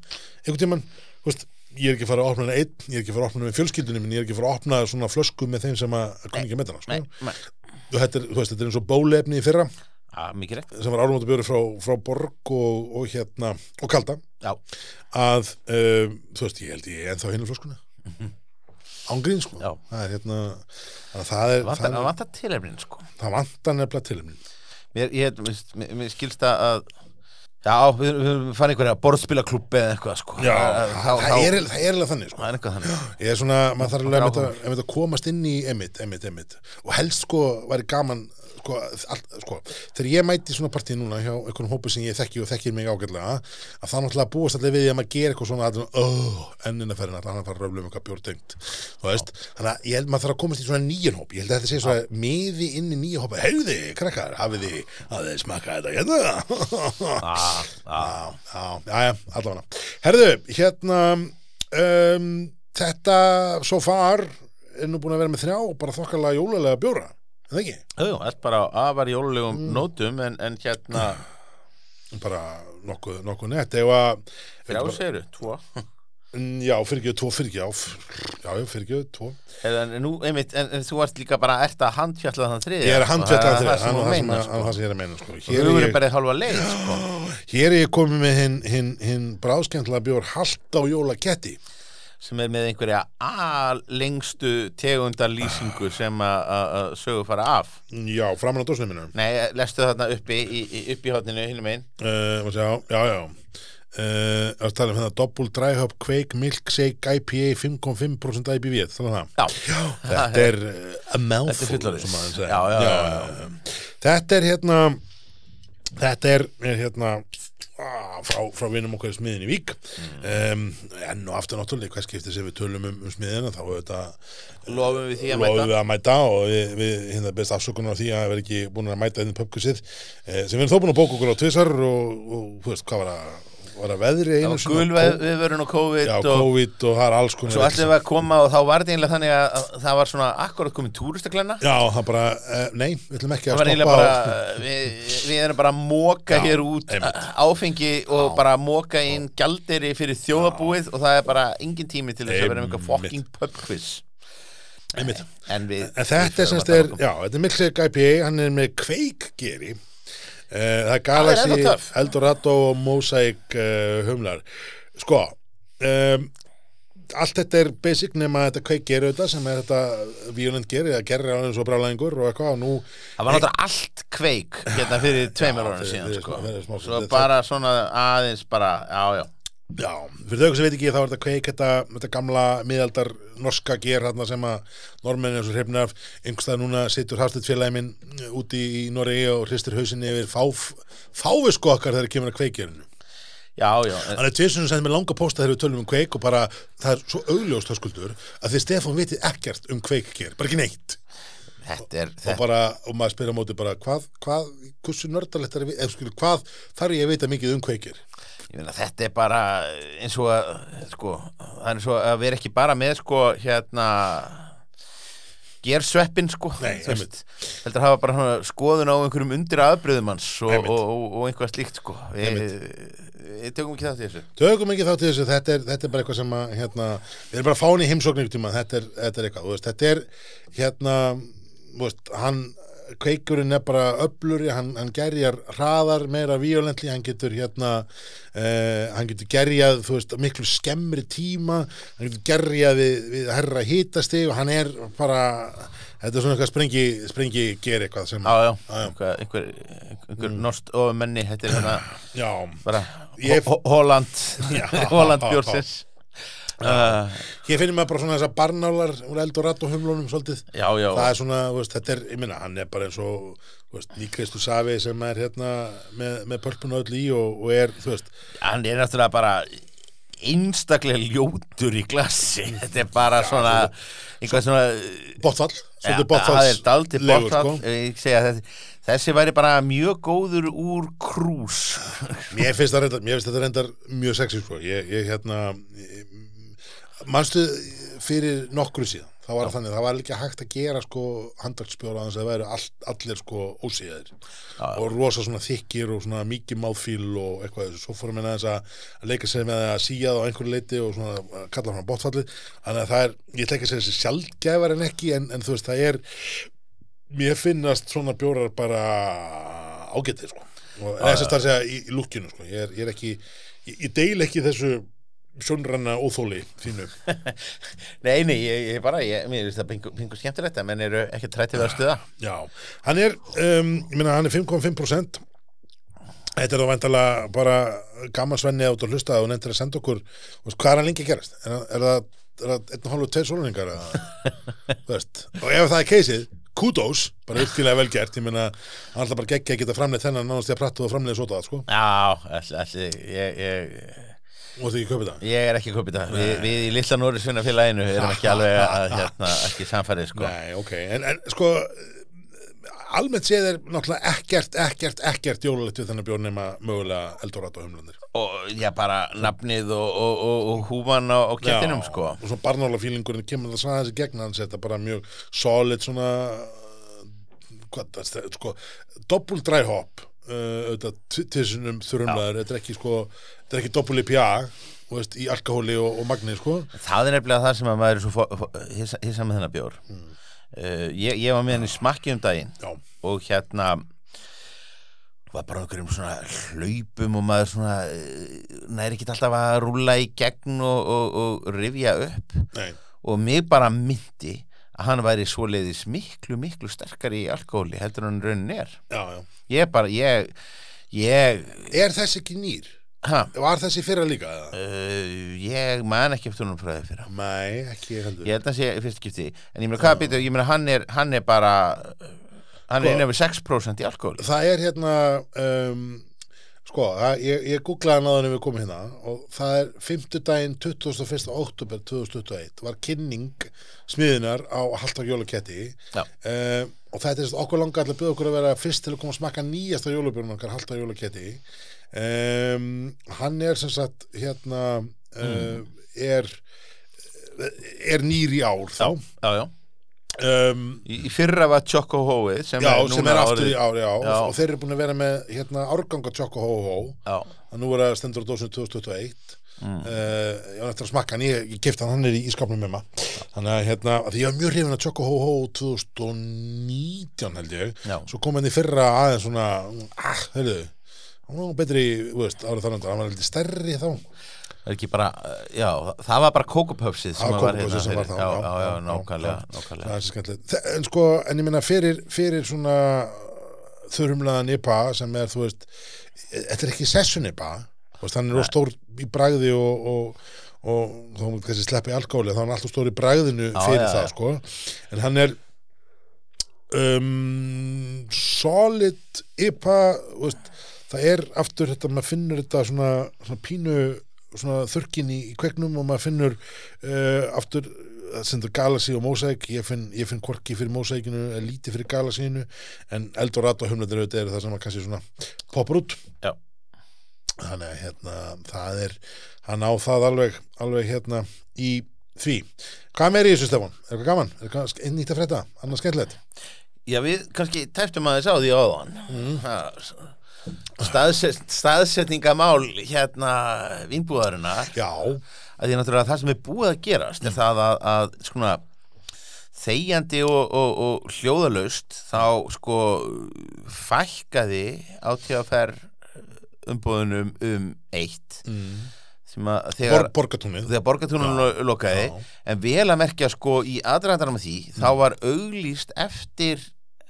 A: einhvern tímann, þú veist, ég er ekki að fara að opna hana einn, ég er ekki að fara að opna hana með fjölskyldunum, en ég er ekki að fara að opna svona flösku með þeim sem að kom ekki að með hana, sko
B: nei, nei.
A: og þetta er, þú veist, þetta er eins og bólefni í fyrra
B: Að, mikið rétt
A: sem var árumótabjöru frá, frá Borg og, og hérna, og Kalda
B: já,
A: að, um, þú veist, ég held ég er ennþá hinu flöskuna ángrín, sko
B: Já.
A: það er hérna að það er,
B: vantar,
A: það,
B: það
A: er,
B: vantar tilefnin sko
A: það vantar nefnilega til
B: mér, ég, mér, mér skilst það að Já, við, við fann einhverja borðspilaklubbi eða eitthvað sko
A: Já,
B: það, það,
A: það er það er alveg þannig sko.
B: það er eitthvað þannig
A: Ég er svona, maður þarf
B: Það
A: alveg
B: er
A: einmitt að,
B: áhugavert.
A: einmitt að komast inn í emitt, emitt, emitt og helst sko væri gaman sko, all, sko, þegar ég mæti í svona partíð núna hjá einhvern hópi sem ég þekki og þekkir mig ágætlega að það náttúrulega búast allir við því að maður gerir eitthvað svona aðeins, oh, ennina ferðin allan að fara að röfla um eitthvað bjórtengt þú veist, þannig að ég held maður þarf að komast í svona nýjan hóp ég held að þetta sé svona miði inn í nýja hópa heyði, krakkar, hafið þið hafið þið smakkað þetta hérna
B: ah, ah.
A: Já, já, já, já, allavega Herðu, hérna um, Þetta svo far er nú búin að vera með þrjá og bara þokkarlega jólulega bjóra en það ekki,
B: Jú, þetta bara á afar jólulegum
A: Mm.
B: nótum en, en hérna,
A: bara nokkuð, nokkuð nett eða
B: þrjá segiru, tvo
A: Mm, Já, fyrirgjöð, tvo, fyrirgjöð Já, já, fyrirgjöð, tvo
B: eða, en, nú, einmitt, en, en þú ert líka bara ert að handfjalla þann þriði
A: Ég er handfjöldað
B: það
A: þrjá, hann
B: sem þú
A: er það sem
B: meina
A: að-
B: sko.
A: það sem ég er að meina sko.
B: Þú
A: Hér er
B: eru
A: ég-
B: bara í hálfa leið sko.
A: Hér er ég komið með hinn hin, hin bráðskemmtla bjór Hallta og jólaketti
B: sem er með einhverja alengstu tegundarlýsingu sem að- að að sögu fara af
A: Já, framan á dósnum mínum
B: Nei, lestu þarna uppi í, í, uppi í hotninu hinum einn
A: uh, sjá, já, já uh, að tala um þetta Double Dry Hop Quake Milkshake IPA 5,5% IPV þannig að um það
B: Já,
A: þetta er uh, a mouthful
B: Þetta er fullorðins.
A: sem maður segir.
B: Já, já, já,
A: þetta er hérna þetta er, er hérna ah, frá, frá vinum okkar í smiðin í Vík
B: Mm.
A: um, enn og aftur náttúrulega hvað skiptir sem við tölum um, um smiðina þá er þetta
B: lofum við því að
A: lofum
B: mæta
A: við að mæta og við, við hérna best afsökunar á því að vera ekki búin að mæta inn í pubquizið eh, sem við erum þó búin að bóka okkur á tvisar og, og þú veist hvað var að, var að veðri einu
B: og
A: sinni?
B: gulveð við verðum og COVID
A: Já,
B: og
A: COVID og það er alls konar
B: svo
A: vitleysa.
B: ætlum við að koma og þá var þetta einlega þannig að að það var svona akkurat komið túristaklenna
A: Já, það bara, eh, nei, við ætlum ekki að
B: það var
A: stoppa
B: einlega bara, eh,
A: á-
B: við, við erum bara að móka
A: Já,
B: hér út
A: einmitt.
B: áfengi og bara móka inn gjalderi fyrir þjóðabúið og það er bara engin tími til þess að vera um eitthvað fucking pub quiz
A: Einmitt.
B: en við
A: En þetta
B: við
A: er semst
B: förum
A: er,
B: að taka-
A: já, þetta er Milkshake IPA, hann er með kveikgeri uh, Það er
B: Það
A: Galaxy,
B: er ennþá töff.
A: Eldorado og Mosaic uh, humlar Sko, um, allt þetta er basic nema þetta kveikgeri auðvitað sem er þetta violent geri, það gerir alveg svo brálæðingur og eitthvað og nú
B: það var náttúrulega allt kveik hérna fyrir tveimur
A: fyrir-
B: árið síðan
A: fyrir
B: sko.
A: smá- fyrir smá-
B: svo
A: þetta-
B: bara svona aðeins bara, já já
A: Já, fyrir þau sem veit ekki þá er þetta kveik þetta, þetta gamla miðaldar norska ger hérna sem að normenn er svo hrifnir af einhverstað núna situr hafstitt félagi minn eh, úti í Noregi og hristir hausinni yfir fáf, fávisku okkar þegar kemur að kveikgerinu
B: Já, já, en-
A: Hann er tvisunum sem mér langa pósta þegar við tölum um kveik og bara það er svo augljóst höskuldur að því Stefán vitið ekkert um kveikger, bara ekki neitt
B: þetta er
A: og
B: þetta,
A: bara, og maður spyrir á móti bara hvað, hvað, hversu nördalegt er að við, eða skilur, hvað þarf ég að vita mikið um kveikir?
B: ég meina, þetta er bara eins og að, sko, það er eins og að vera ekki bara með, sko, hérna ger sveppin, sko
A: Nei,
B: þú veist, heldur að hafa bara svona, skoðun á einhverjum undir aðbröðum hans og,
A: Einmitt.
B: og, og, og einhvað slíkt, sko við við tökum ekki það til þessu
A: Tökum ekki þátt í þessu, þetta er, þetta er bara eitthvað sem að, hérna, við erum bara fáin í heimsóknir tíma, þetta er, þetta er eitthvað, þú veist, þetta er, hérna, þú veist, hann, kveikurinn er bara öfluri, hann, hann gerjar hraðar meira violentli, hann getur, hérna, eh, hann getur gerjað, þú veist, á miklu skemmri tíma, hann getur gerjað við, við herra hítasti og hann er bara, þetta er svona eitthvað sprengi, sprengi ger eitthvað sem,
B: Já, já, einhver, einhver, einhver mm. norst ofumenni, þetta er hérna
A: já,
B: bara
A: Ég-
B: Ho- Ho- Holland
A: Já.
B: Holland bjórsins uh,
A: Ég finnir maður bara svona þessar barnálar úr eld og ratt og humlunum svolítið.
B: Já, já.
A: Það er svona, þú veist, þetta er, ég minna, hann er bara eins og, þú veist, Nikristu Savi sem er hérna með, með pörpun öll í og, og er, þú veist,
B: hann er náttúrulega bara einstaklega ljótur í glassi þetta er bara svona einhvað svona
A: botfall, svolítið
B: það er daldi
A: botfallslegur, sko.
B: botfall Ég segi að þessi, þessi væri bara mjög góður úr krús
A: Mér finnst það reyndar, mér finnst þetta reyndar mjög sexy, sko. Ég, ég hérna, ég- manstu fyrir nokkru síðan, það var þannig, það var líka hægt að gera, sko, handdragsbjóra aðeins að það væru all, allir, sko, ósíðir og rosa svona þykkir og svona mikið máðfíl og eitthvað þessu. Svo fórum við aðeins að að leika sér með að síja það á einhverju leiti og svona að kalla frá botfallið. Þannig að það er, ég ætla ekki að segja þessi sjaldgæfar en ekki, en, en þú veist, það er, mér finnast svona bjórar bara ágætið sko. og þess að það segja í, í lukkinu sko. ég, er, ég er ekki, ég, ég deil ekki þessu sjónranna óþóli þínu
B: nei, nei, ég, ég bara ég, mér finnst það pingu, pingu skemmtilegt en menn eru ekki trættið að stuða
A: já, hann er, um, ég meina hann er 5,5% Þetta er þá væntalega bara gaman svenni át að hlusta og nefndir að senda okkur þú veist, hvað er hann lengi að gerast? Er, það- er það, er það einn og hálfu tveir sólningar? og ef það er keisið kudos, bara uppkýrlega vel gert ég meina, hann ætla bara geggja að geta framleið þennan nánast ég að prattu og framleið sota það, sko
B: Já, allir, allir ég, ég,
A: og því ekki kaupið það
B: ég er ekki kopið það við, við í Lilla Norrisvinnafélaginu erum ekki alveg að, hérna, ekki samfærið sko.
A: Nei, ok, en, en sko almennt séð er náttúrulega ekkert, ekkert, ekkert jólalegt við þennan bjórn nema mögulega Eldorado humlandir
B: og já, bara nafnið og, og, og, og húman á, á kettinum
A: Já,
B: sko.
A: og svo barnálafílingurinn kemur það aðeins í gegn hans þetta bara mjög solid svona uh, hvað það st- sko doppul dry hop uh, auðvitað t- tilsunum þurrumlaður þetta er ekki sko þetta er ekki doppul IPA þú veist, í alkohóli og, og magni sko
B: það er nefnilega það sem að maður er svo fó- fó- hissa hissa með þennan bjór uh, ég, ég var með henni smakki um daginn
A: já,
B: og hérna var bara á einhverjum svona hlaupum og maður svona eh, nær ekki alltaf að rúla í gegn og, og, og rifja upp
A: nei,
B: og mig bara myndi að hann væri svoleiðis miklu, miklu sterkari í alkohóli heldur en hann raunin er
A: já, já
B: ég bara, ég ég,
A: er þessi ekki nýr?
B: ha,
A: var þessi fyrra líka? eða?
B: uh, ég man ekki eftir honum fræði fyrir
A: nei, ekki heldur
B: ég held að sé í fyrsta skipti en ég meina, hvað býtur, ég meina, hann er, hann er bara uh, hann
A: Sko-
B: er innan við 6% í alkohóli
A: það er hérna um, sko, það, ég, ég googlaði hann áður en við komum hérna og það er 50 daginn 21. oktober 2021 var kynning smiðinar á Halltak Jólaketti
B: Já.
A: um, og þetta er sem sagt, okkur langa allir byggð okkur að vera fyrst til að koma að smakka nýjasta jólabjörnum okkar Halltak Jólaketti um, hann er sem sagt hérna
B: Mm.
A: um, er er nýr í ár þá
B: já, já
A: um,
B: Í í fyrra var Choco Hóið sem
A: já,
B: er núna
A: sem er aftur
B: árið-
A: í ár, já,
B: Já.
A: Og, og þeir eru búin að vera með hérna árganga Choco Ho Ho
B: Já,
A: að nú er að stendur á dósinu 2021 mm. ég var eftir að smakka hann ég, ég kipta hann, hann er í, í skapnum með maður þannig að hérna, að því ég var mjög hrifin að Choco Ho Ho 2019 held ég
B: Já.
A: svo kom hann í fyrra aðeins svona ah, heyrðu, hann var nú betri þú veist, árið þannig að hann var heldur stærri þá
B: það er ekki bara, uh, já, það- það var bara kókupöpsið sem
A: Það var
B: var
A: Kókó-pöpsið
B: hérna
A: sem var
B: fyrir-
A: þá,
B: Já,
A: já,
B: já,
A: já,
B: já,
A: já,
B: nákvæmlega,
A: já.
B: nákvæmlega
A: það er svo skemmtilegt Þe- en sko, en ég meina fyrir, fyrir svona þurrumlaðan IPA sem er, þú veist e- þetta er ekki sessun IPA þú veist, hann er of stór í bragði og, og, og þá hún kannski sleppi alkohóli þá er hann alltaf stór í bragðinu
B: Já,
A: fyrir
B: já,
A: það,
B: já.
A: sko en hann er um, solid IPA þú veist, það er aftur þetta, maður finnur þetta svona, svona pínu svona þurkin í, í kveiknum og maður finnur uh, aftur það sendur Galaxy og Mosaic ég finn, ég finn hvorki fyrir Mosaicinu en lítið fyrir Galaxyinu en Eldorado humlandir auðvitað er það sem að kannski svona poppar út
B: Já.
A: þannig að hérna það er, hann á það alveg alveg hérna í því hvað meir í þessu Stefán? Er eitthvað gaman? Er eitthvað inn nýtt að frétta? Annars skemmtilegt?
B: Já, við kannski tæftum aðeins á því áðan Staðset, staðsetningamál hérna vinnbúðarinnar
A: Já,
B: að því náttúrulega það sem er búið að gerast er það að, að skona þegjandi og, og, og hljóðalaust þá sko fækkaði átíðafer umbúðunum um eitt mm. sem að þegar
A: Bor borgatúnið
B: þegar borgartúnum lo lokaði en vel að merkja sko í aðræðanum því þá var auglýst eftir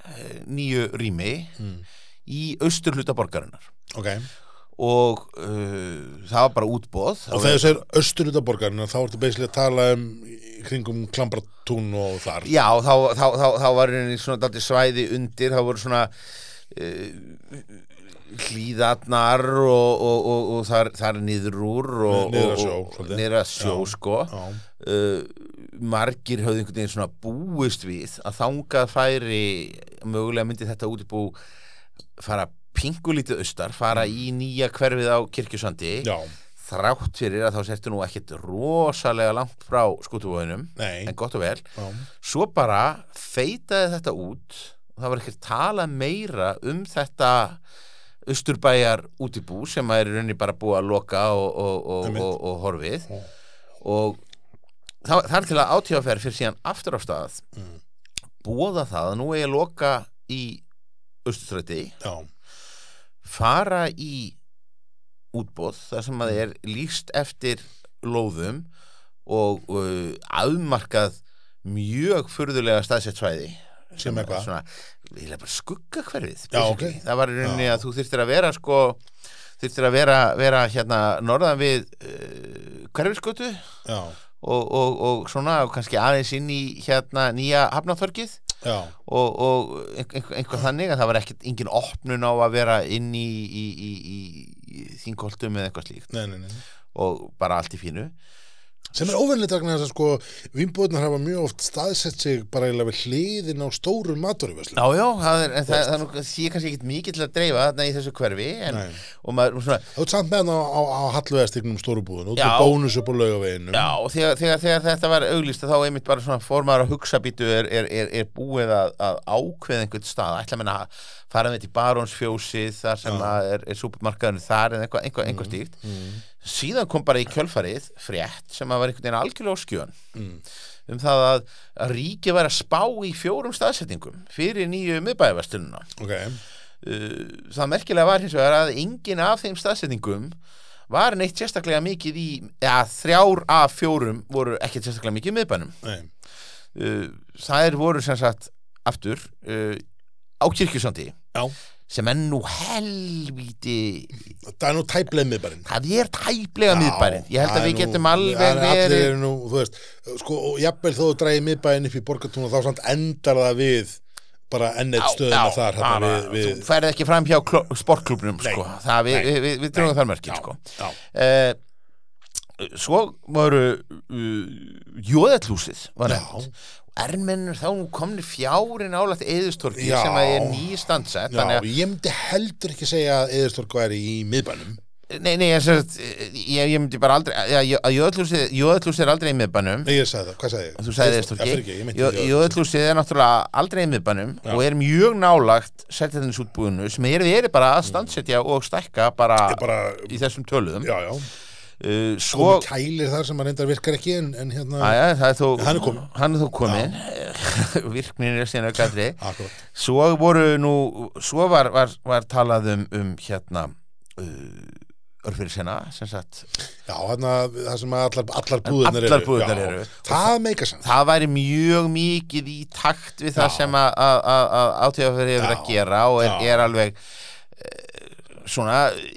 B: eh, nýju rými í austurhluta borgarinnar
A: Ok,
B: og uh, það var bara útbóð
A: og þegar þessi er austurluta borgarinn þá ertu beislega að tala um í kringum klambratún og þar
B: Já, þá, þá, þá, þá var henni svona dálítið svæði undir, þá voru svona uh, hlýðarnar og, og, og, og þar, þar niður úr og,
A: Niður að
B: og-
A: sjó,
B: og-
A: svolítið.
B: niður að sjó
A: Já,
B: sko
A: já.
B: Uh, margir höfðu einhvern veginn svona búist við að þangað færi mögulega myndi þetta útibú fara pingulítið austar fara í nýja hverfið á kirkjusandi
A: Mm. Já,
B: þrátt fyrir að þá settu nú ekkert rosalega langt frá skútuvóðinum
A: nei
B: en gott og vel
A: Já,
B: svo bara feitaði þetta út og það var ekki tala meira um þetta austurbæjar útibú sem að er í rauninni bara búið að loka og, og, og,
A: Einmitt.
B: og, og horfið og það, þar til að átíðaferð fyrir síðan aftur á stað
A: Mm.
B: búða það að nú eigi að loka í austurstræti
A: já,
B: fara í útbóð þar sem að er líst eftir lóðum og uh, afmarkað mjög furðulega staðsett svæði
A: Sem er hvað?
B: svona, eiginlega bara skugga hverfið
A: Já, ok.
B: það var í rauninni
A: Já.
B: að þú þyrftir að vera sko, þyrftir að vera, vera hérna norðan við uh, hverfiskötu
A: já,
B: og, og, og svona og kannski aðeins inn í hérna nýja hafnaþorgið
A: já,
B: og, og einhver, einhver þannig að það var ekkert engin opnun á að vera inn í, í, í, í, í þingoltum eða eitthvað slíkt
A: nei, nei, nei
B: og bara allt í fínu
A: sem er óvennilegt vegna þess að sko vinnbúðunar hafa mjög oft staðsett sig bara eiginlega við hliðin á stórum maturöfuslu
B: Já, já, það er, en það, það er nú, sé kannski ekkert mikið til að dreifa þarna í þessu hverfi en,
A: Nei.
B: og maður, og svona,
A: þú ert samt með hann á, á, á halluðastignum stórubúðun og þú
B: Já.
A: bónus upp á laugaveginu
B: já, og þegar, þegar, þegar þetta var auglýst að þá einmitt bara svona formaður að hugsa býtu er, er, er, er búið að, að ákveða einhvern stað, ætla menna að fara með til barónsfjósið þar sem að er, er supermarkaðunum þar en eitthvað einhver, einhver stíkt síðan kom bara í kjölfarið frétt sem að var einhvern veginn algjörlega á skjön um það að, að ríki væri að spá í fjórum staðsetningum fyrir nýju miðbæðavastununa
A: ok,
B: uh, það merkilega var hins vegar að engin af þeim staðsetningum var neitt sérstaklega mikið í eða þrjár af fjórum voru ekkert sérstaklega mikið í miðbænum
A: nei,
B: uh, það er voru sem sagt aftur uh, á kirkjusandi
A: já
B: sem er nú helvíti
A: það er nú tæplega miðbærin
B: það er tæplega miðbærin ég held að við getum alveg
A: allir
B: verið
A: eru nú, þú veist, sko, og jafnvel þó þú dræði miðbærin upp í borgartúna þá samt endar það við bara enn eitt stöðuna þar hérna
B: bara,
A: við, við,
B: þú færið ekki fram hjá kló- sportklúbnum
A: Nei,
B: sko. það við,
A: nei,
B: við, við, við drögum þar mörkin sko.
A: já,
B: Eh, svo voru uh, jóðallúsið var
A: Já.
B: nefnt ermennur þá nú komni fjári nálægt eðustorki
A: Já.
B: sem að er nýstandsett
A: já,
B: þannig að,
A: ég myndi heldur ekki segja að eðistorg væri í miðbænum
B: nei, nei, ég, sagt, ég, ég myndi bara aldrei að, að jóðallúsið, jóðallúsið er aldrei í miðbænum
A: nei, ég sagði það, hvað sagði ég?
B: þú sagði
A: Eiðstorg- Já, fyrirgefðu, ég
B: eðustorki
A: meinti Jóðallúsið.
B: jóðallúsið er náttúrulega aldrei í miðbænum
A: Já.
B: og er mjög nálægt seltjarnisútbúinu sem er verið bara að standsetja og stækka bara,
A: Ég Mm. bara,
B: í þessum töluðum
A: já, já,
B: uh, svo
A: komið kælir þar sem að reyndar virkar ekki en, en hérna,
B: Æja, það er þó,
A: Hann er kominn.
B: hann er þó komin. virknin er síðan aukandri
A: akkurat
B: svo voru nú svo var, var, var talað um, um hérna uh, örfyrirsena sem sagt
A: já, hérna, það sem að allar, allar búðunar
B: allar búðirnar
A: já,
B: eru.
A: það meika sann
B: það væri mjög mikið í takt við það
A: Já.
B: sem að- að átíðafyrir hefur að
A: Já.
B: gera og er,
A: Já.
B: er alveg eh, svona,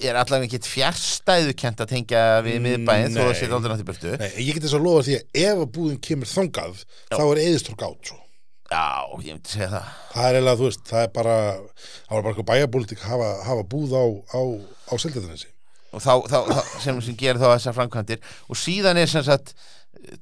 B: er allavega ekkert fjärstæðu kent að tengja við miðbæinn þó það
A: Mm, Nei.
B: sé aldrei náttúrulega burtu
A: Nei, ég get þess að lofa því að ef að búðin kemur þangað þá er eðistorg átt svo
B: já, ég myndi segja það
A: það er eiginlega, þú veist, það er bara það var bara eitthvað bæjarbólitík að hafa, hafa búð á, á, á seldaðanessi
B: og þá, þá, þá sem, sem gerir þá þessar framkvæmdir og síðan er sem sagt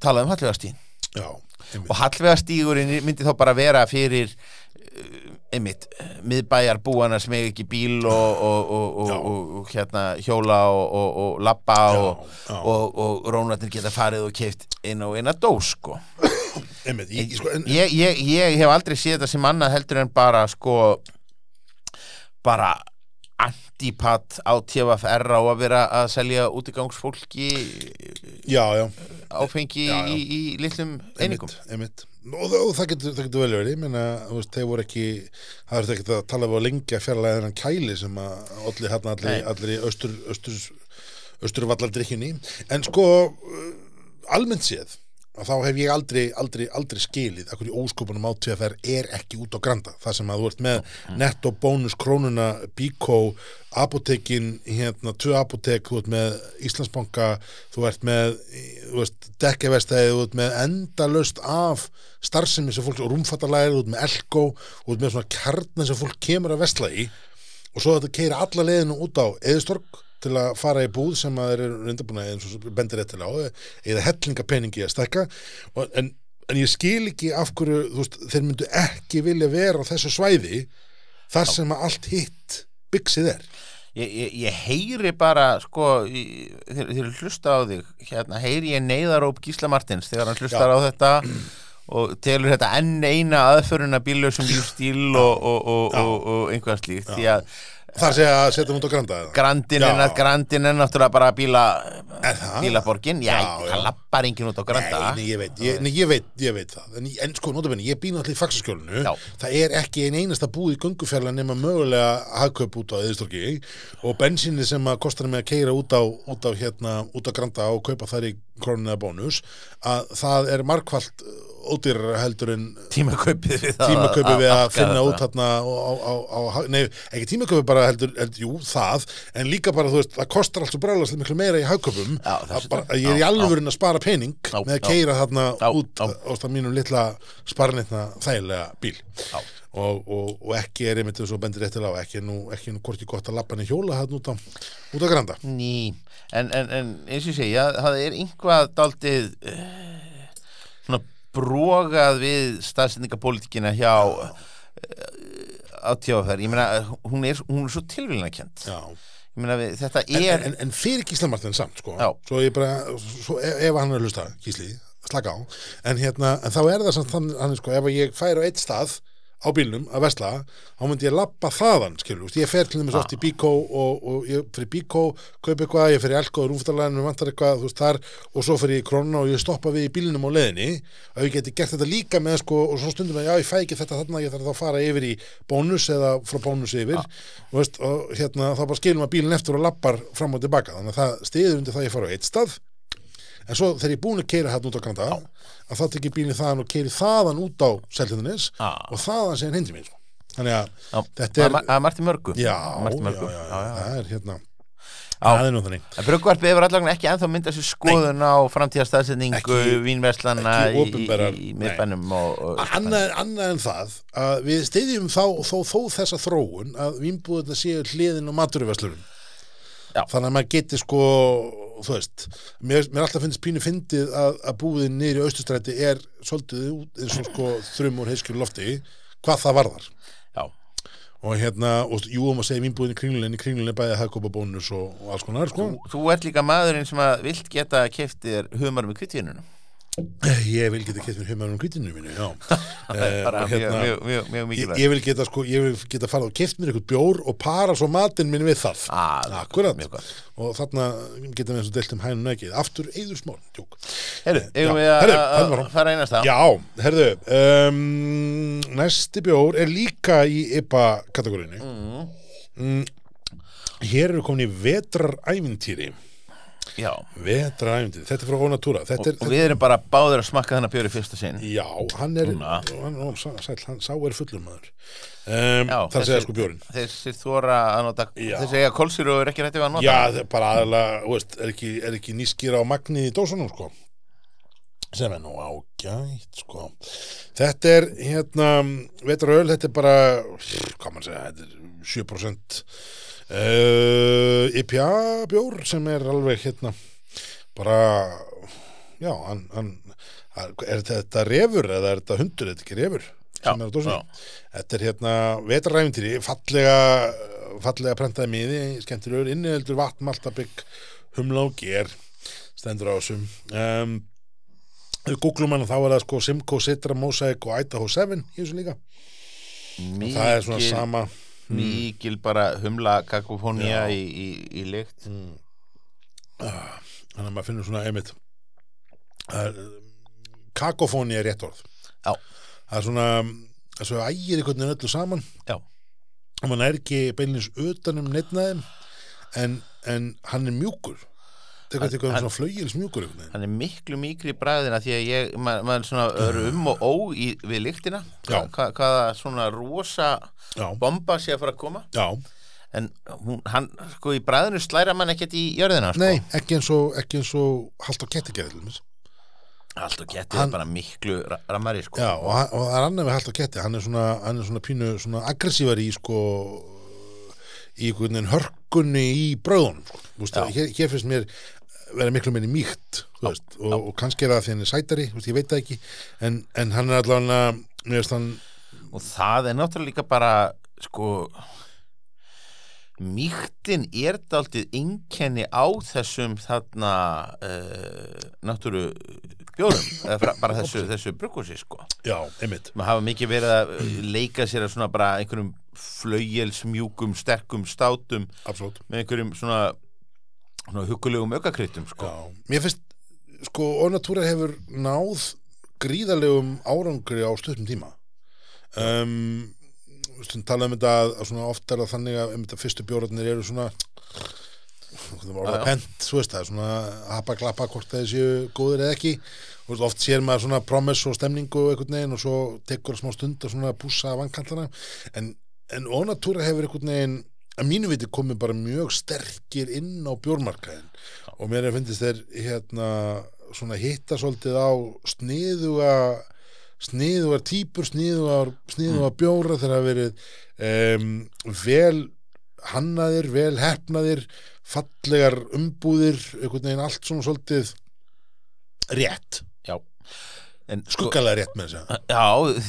B: talað um Hallvegastín
A: já, einmitt,
B: og Hallvegastígurinn myndi þá bara vera fyrir eh, einmitt, miðbæjar búana sem eiga ekki bíl og, og, og, og,
A: Já.
B: og, og hérna hjóla og, og, og labba og,
A: já.
B: og, og rónarnir geta farið og keift inn og eina dós sko.
A: einmitt ég, ég, sko, en,
B: ég, ég, ég hef aldrei séð þetta sem annað heldur en bara sko bara antipat á TFR á að vera að selja útigangsfólki eh,
A: já, já,
B: áfengi
A: Já, já.
B: Í, í litlum einingum
A: einmitt, einmitt. Og, það- og það getur, það getur vel verið, ég meina, þú veist, þeir voru ekki það er ekkert að tala við að lengja fjarlæði þennan kæli sem að olli hérna allir,
B: Nei.
A: allir í austur, austur, austurvallardrykkjunni en sko, uh, almennt séð að þá hef ég aldrei, aldrei, aldrei skilið að hverju óskopunum átveðferð er ekki út á granda, það sem að þú ert með netto bónus krónuna bíkó apotekin, hérna, tvö apotek þú ert með Íslandsbanka þú ert með, í- þú veist, dekkjavestæði þú ert með endalaust af starfsemi sem fólk, og rúmfattalæri þú ert með elko, þú ert með svona kjarna sem fólk kemur að vestla í og svo þetta keira alla leiðinu út á eðistorg til að fara í búð sem að þeir eru reyndabúna eins og bendir réttilega á eða hellinga peningi að stekka og, en, en ég skil ekki af hverju þú veist, þeir myndu ekki vilja vera á þessu svæði þar sem að allt hitt byggsið er
B: ég, ég, ég heyri bara sko, í- þegar þegar ég hlusta á þig hérna heyri ég neyðaróp Gísla Martins þegar hann hlustar á þetta og telur þetta enn eina aðföruna bílösum lífstíl og, og, og, og, og einhvað slíkt því að
A: þar sé að setja hún út á granda eða?
B: Grandin er,
A: Já.
B: grandin er náttúrulega bara bíla,
A: Er það?
B: bílaborgin Já,
A: Já,
B: það
A: já.
B: lappar enginn út á granda
A: Nei, nei, ég veit, ég, nei, ég veit, ég veit það en, en sko, notabenni, ég býna allir í faksaskjólinu
B: Já.
A: það er ekki ein einasta búð í göngufjörlega nema mögulega hagkaup út á eðistorki og bensinni sem að kostar mig að keira út á, út á hérna, út á granda og kaupa þar í króninu eða bónus að það er markvallt ódýrar heldur en
B: tímakaupið við það
A: tímaköpi
B: að-
A: við að
B: afgara
A: finna
B: það.
A: út þarna á, á, á, á, nei, ekki tímaköpi bara heldur, heldur, jú, það en líka bara, þú veist, það kostar allt svo bráðlega miklu meira í hagköpum
B: Já,
A: að
B: þessu-
A: bara- að ég er í
B: já,
A: alvörin að spara pening
B: Já,
A: með að
B: já.
A: keira þarna
B: Já,
A: út
B: já.
A: á það mínum litla sparnitna þægilega bíl
B: Já.
A: og, og, og ekki er einmitt þess að bendir réttilega á, ekki er nú, ekki er nú hvorki gott að lappa henni hjóla þarna út á, út á granda
B: Ný, en, en, en eins og ég segja, það er einhvað daldið uh, svona brogað við staðsendingapólitíkina hjá uh, átjáfær, ég meina eh, hún er, hún er svo tilvílunarkjönd
A: Já.
B: ég meina við, þetta
A: En,
B: er
A: en, en fyrir Gísla Martin samt sko.
B: Já.
A: svo ég bara, svo ef, ef hann er að hlusta Gísli, slaka á en, hérna, en þá er það samt þannig þannig, sko, ef ég færi á eitt stað á bílnum að vesla, þá myndi ég lappa þaðan skilur, veist, ég fer til þeim oft í Bíkó og, og ég fyrir Bíkó, kaup eitthvað ég fyrir Elko og Rúftalæðin, við vantar eitthvað þú veist, þar, og svo fyrir ég í Krónuna og ég stoppa við í bílnum á leiðinni, og ég geti gert þetta líka með sko, og svo stundum að já, ég fæ ekki þetta þarna, ég þarf þá að fara yfir í bónus eða frá bónus yfir og, veist, og hérna, þá bara skilum að bílinn eftir og lappar fram og tilbaka, þannig að það stiður undir það að ég fara á eitt stað en svo þegar ég er búin að keira hérna út á Granda að þá tekið bílinn þaðan og keiri þaðan út á Seltjarnis
B: Já.
A: og þaðan segir hindi mín sko. þannig að
B: Já,
A: þetta er
B: að, að Marti Mörgu
A: já,
B: Að
A: já,
B: Marti
A: já,
B: Mörgu.
A: já, það er hérna
B: Já.
A: það er nú þannig
B: En Brugvarpið hefur allavega ekki ennþá myndað sér skoðun á framtíðastafsendingu,
A: Ekki-
B: vínverslana
A: ekki
B: í, í,
A: opinberar,
B: í
A: nei. Ah.
B: miðbænum og, og
A: annað, annað en það að við stiðjum þá og þó, þó þessa þróun að vínbúðurna séu hliðin og maturverslunum
B: Já.
A: þannig að maður geti sko þú veist, mér, mér alltaf finnst pínu fyndið að, að búðin niður í austustræti er svolítið út eins og sko þrum úr heiskjölu lofti, hvað það varðar
B: já,
A: og hérna, og jú, um að segja vínbúðin í kringluninni, kringluninni bæði hagkopa bónus og, og alls konar, sko
B: Þú ert líka maðurinn sem að vilt geta keftir humar með kvittinunum
A: ég vil geta kett mér heimaður um kvítinu mínu, já Eh,
B: bara
A: og
B: mjög, mjög, mjög, mjög
A: Ég,
B: mikilvægt
A: ég vil geta sko, ég vil geta farið og keft mér eitthvað bjór og para svo matinn minn við það
B: Ah, mjög gott,
A: Akkurat.
B: mjög gott.
A: og þarna geta við eins og deilt um hænum ekki aftur eigður smál, tjók
B: Herru,
A: Já,
B: eigum við að
A: herru, hann var
B: að
A: hún.
B: fara einast á
A: Já, herðu um, næsti bjór er líka í IPA kategóriðinu mm. hér eru komin í vetrarævintýri
B: Já,
A: vetrarævintýri, þetta er frá Ónatúra þetta er,
B: og við erum bara báður að smakka þennan bjóri fyrsta sinn
A: Já, hann er,
B: Núna.
A: hann, ó, sá, sæll, hann, sá er fullur maður um,
B: Já,
A: Það segja sko bjórin
B: Þessir þóra að nota,
A: Já.
B: þessir eiga kolsýru og er ekki rættið að nota
A: Já, það er bara aðalega, þú veist, er ekki, er ekki nýskýra á magnið í dósunum, sko sem er nú ágætt, sko Þetta er, hérna, vetraröl, þetta er bara hvað mann segja, þetta er 7% uh, IPA bjór sem er alveg, hérna bara, já, hann, hann er þetta refur eða er þetta hundur, þetta er ekki refur sem
B: Já,
A: er á dósunum Þetta er hérna vetraræfintýri, fallega fallega prentaði miði, skemmtilegur inniheldur vatn, maltabygg, humla og ger stendur á þessum um, við googlum hann og þá er það sko Simcoe, Citra, Mosaic og Idaho 7 í þessu líka,
B: mikil,
A: það er svona sama hmm.
B: Mikil bara humla kakofónía í, í, í lykt
A: Mm. Ah, þannig að maður finnur svona einmitt uh, kakofóni er rétt orð
B: Já.
A: það er svona það er svo ægir einhvern veginn öllu saman
B: Já.
A: og maður er ekki beinlins utanum neittnaðum en, en hann er mjúkur tekur þetta eitthvað
B: hann-
A: svona flögils mjúkur einhvern veginn
B: hann er miklu mikri í bræðina því að ég, ma maður svona er um og ó í, við lyktina hva,
A: Já.
B: hva, hvaða svona rosa
A: já,
B: bomba sé að fara að koma
A: já,
B: en hún, hann, sko í bræðinu slæra mann ekkert í jörðina sko.
A: nei, ekki eins og ekki eins og hald á kettigerð til dæmis.
B: allt og getið
A: Hann-
B: er bara miklu ra- rammari sko.
A: Já, og, hann- og það er annað við hald á ketti hann er svona, hann er svona pínu svona aggressívar í sko í einhvern veginn hörkunni í bröðunum sko. Þú veist,
B: Já.
A: að hér, hér finnst mér vera miklu minni mýkt þú veist, og, og kannski er það því hann er sætari þú veist, ég veit það ekki en, en hann er allavega mér veist hann
B: og það er náttúrulega líka bara sko mýktin er daldið einkenni á þessum þarna uh, náttúru bjórum, eða bara- bara þessu, þessu brukkúsi sko
A: já, einmitt
B: maður hafa mikið verið að uh, leika sér að svona bara einhverjum flögelsmjúkum, sterkum státum
A: absolutt
B: með einhverjum svona, svona hugulegum aukakryttum sko.
A: Já, mér finnst, sko, Onatúra hefur náð gríðarlegum árangri á stuttum tíma um, stund tala um þetta að, að svona oft er það þannig að um þetta fyrstu bjórarnir eru svona hvernig var
B: Já,
A: orðað
B: já.
A: pent, svo veist það svona hapa glappa hvort þeir séu góðir eða ekki þú veist, oft sér maður svona promise og stemningu og einhvern veginn og svo tekur smá stund að svona pússa að vankantana en, en ónatúra hefur einhvern veginn að mínu viti komið bara mjög sterkir inn á bjórmarkaðin og mér er finnist þeir hérna svona hitta svolítið á sniðuga sniðugar típur, sniðugar, sniðugar
B: Mm.
A: bjóra þegar hafa verið um, vel hannaðir, vel hefnaðir fallegar umbúðir einhvern veginn allt svona svolítið rétt,
B: já en, sko-
A: skuggalega rétt með þess að
B: Já,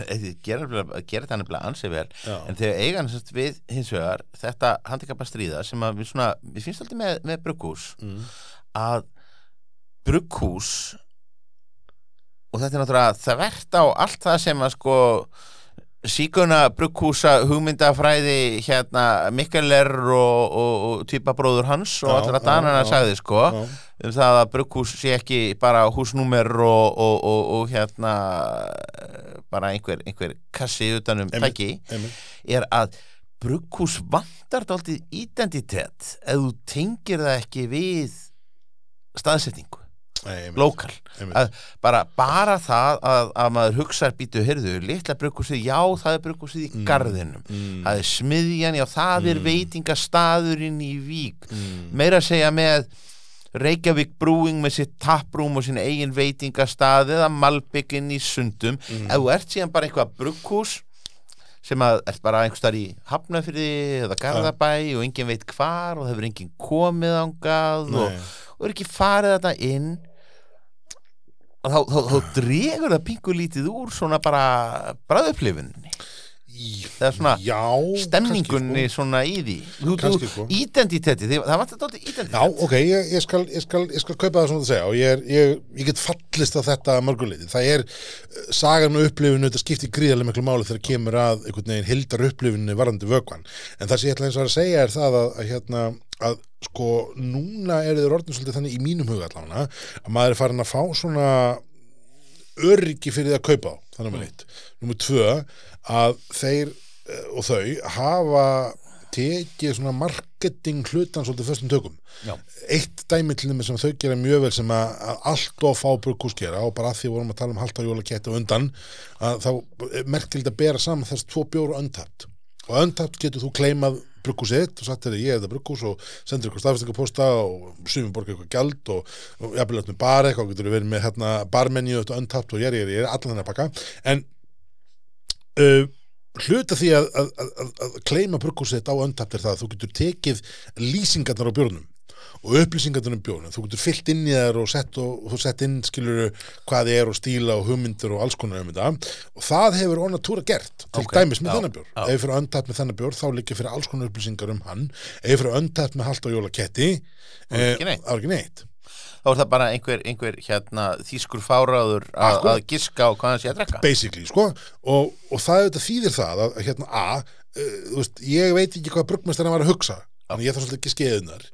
B: þið gera, nefnilega- gera þetta nefnilega ansið vel
A: Já.
B: en þegar eigan sérst, við hins vegar þetta handikapa stríða sem að við svona, við finnst alltaf með, með brugghús
A: Mm.
B: að brugghús og þetta er náttúrulega þvert á allt það sem að sko síkuna brugghúsa hugmyndafræði hérna Mikkeler og, og, og týpabróður hans og
A: Já,
B: allra
A: já,
B: danana
A: já.
B: sagði sko
A: Já,
B: um það að brugghús sé ekki bara húsnúmer og, og, og, og hérna eh, bara einhver, einhver kassi utan um
A: Einmitt.
B: tæki
A: einmitt.
B: er að brugghús vantar dálítið identitet ef þú tengir það ekki við staðsetningu,
A: Nei, einmitt,
B: lokal
A: einmitt.
B: að bara, bara það að, að maður hugsar býtu hyrðu, litla brugghúsið, já það er brugghúsið í
A: Mm.
B: garðinum
A: Mm,
B: það er smiðjan, já það er
A: Mm.
B: veitingastaðurinn í vík
A: mm,
B: meira að segja með Reykjavík Brewing með sitt taprúm og sín eigin veitingastað eða Malbyggin í Sundum
A: mm.
B: ef þú ert síðan bara einhvað brugghús sem að ert bara einhvers þar í Hafnafyrði eða Garðabæ og enginn veit hvar og það hefur enginn komið ángað og,
A: Nei,
B: og er ekki farið þetta inn og þá, þá, þá dregur það pingu lítið úr svona bara bræðupplifunni
A: í-
B: það er svona
A: Já,
B: stemningunni
A: kannski, sko.
B: svona í því þú,
A: Kannski,
B: þú,
A: sko.
B: identiteti, þið- það vantar þetta
A: sko.
B: identiteti
A: Já, ok, ég, ég, skal, ég, skal, ég skal kaupa það svona að segja og ég, er, ég, ég get fallist á þetta mörguleiti. Það er eh, sagan og upplifinu, þetta skiptir gríðarlega miklu máli þegar kemur að einhvern veginn hildar upplifinu varandi vökvan. En það sem ég ætla eins og að segja er það að, að hérna að sko núna eru þeir orðin svolítið þannig í mínum huga allavega að maður er farin að fá svona öryggi fyrir því að kaupa þá þannig með eitt. Númer tvö að þeir eh, og þau hafa tekið svona marketing hlutan svolítið föstum tökum.
B: Já.
A: Eitt dæmi til þeim sem þau gera mjög vel sem að, að allt of fá brugghús gera og bara að því vorum að tala um halda jólaketti og undan að þá er merkilegt að bera saman þess tvo bjóru öndapt og öndapt getur þú kleimað brugghúsið þitt og satt er að ég er það brugghús og sendur ykkur staðfestingaposta og sumum borga ykkur gjald og, og jafnvel átt með bar eitthvað og getur verið með hérna barmenju og öndapt og ég er ég er ég er allan þennan pakka en uh, hluta því að, að, að, að- að kleima brugghúsið þitt á öndapt er það að þú getur tekið lýsingarnar á bjórnum og upplýsingarnar um bjórnum, þú getur fyllt inn í þær og sett, og, og sett inn skilur hvað þið er og stíla og hugmyndir og alls konar um þetta og það hefur Onatúra gert til
B: Ok,
A: dæmis með
B: já,
A: þennan bjór
B: já.
A: ef ég fyrir að öndtætt með þennan bjór þá líka fyrir alls konar upplýsingar um hann ef ég fyrir að öndtætt með hald og jólaketti
B: er ekki neitt.
A: er ekki neitt
B: þá er það bara einhver, einhver hérna, þýskur fáráður að,
A: Akkurat.
B: að giska á hvað hann sé að drekka
A: basically, sko og, og það auðvitað þýðir það að, að hérna A, uh, þú veist, ég veit ekki hvað brugmestana var að hugsa, þannig að ég þarf svolítið ekki skeiðunar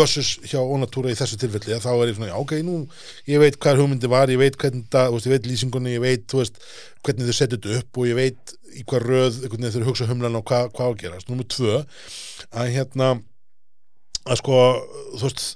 A: versus hjá Onatúra í þessu tilfelli að þá er ég svona, já, ok, nú ég veit hvað hugmyndi var, ég veit hvernig það, þú veist, ég veit lýsingunni, ég veit, þú veist hvernig þau setja þetta upp og ég veit í hvað röð, hvernig þau hugsa humlan og hvað, hvað á að gerast Númer tvö, að hérna að sko, þú veist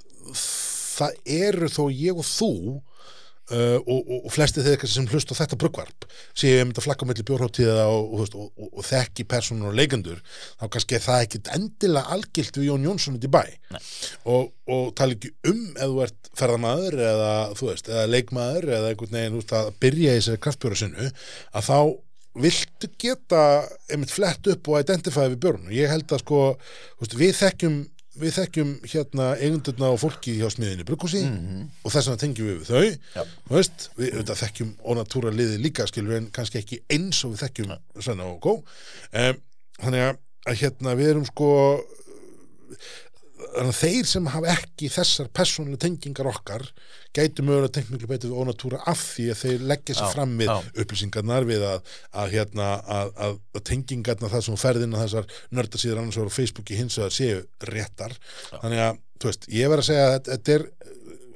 A: það eru þó ég og þú uh, og, og, og flesti þeir kannski sem hlust á þetta brugvarp séu einmitt að flakka melli bjórháttíða og, og, þú veist, og, og, og þekki personur og leikendur þá kannski er það ekkit endilega algilt við Jón Jónsson út í bæ og, og tala ekki um ef þú ert ferðamaður eða þú veist, eða leikmaður eða einhvern veginn út að byrja í þessari kraftbjóra sinu að þá viltu geta einmitt flett upp og identifæði við björn og ég held að sko, þú veist, við þekkjum við þekkjum hérna eigundurna og fólkið hjá smiðinni brukkúsi og þess vegna tengjum við við þau
B: Já.
A: Þú veist, við auðvitað þekkjum ónatúra liði líka skilur við, en kannski ekki eins og við þekkjum Svenna og Kó um, þannig að, að hérna við erum sko þannig að þeir sem hafa ekki þessar persónulega tengingar okkar gætu mögulega tengt miklu betur við ónatúra af því að þeir leggja
B: Já,
A: sér fram við
B: já.
A: upplýsingarnar við að, að, hérna, að, að, að tengingarnar það sem þú ferð inn á þessar nördasíður annars vegar og Facebooki hins vegar séu réttar þannig að, þú veist, ég verð að segja að þetta- þetta er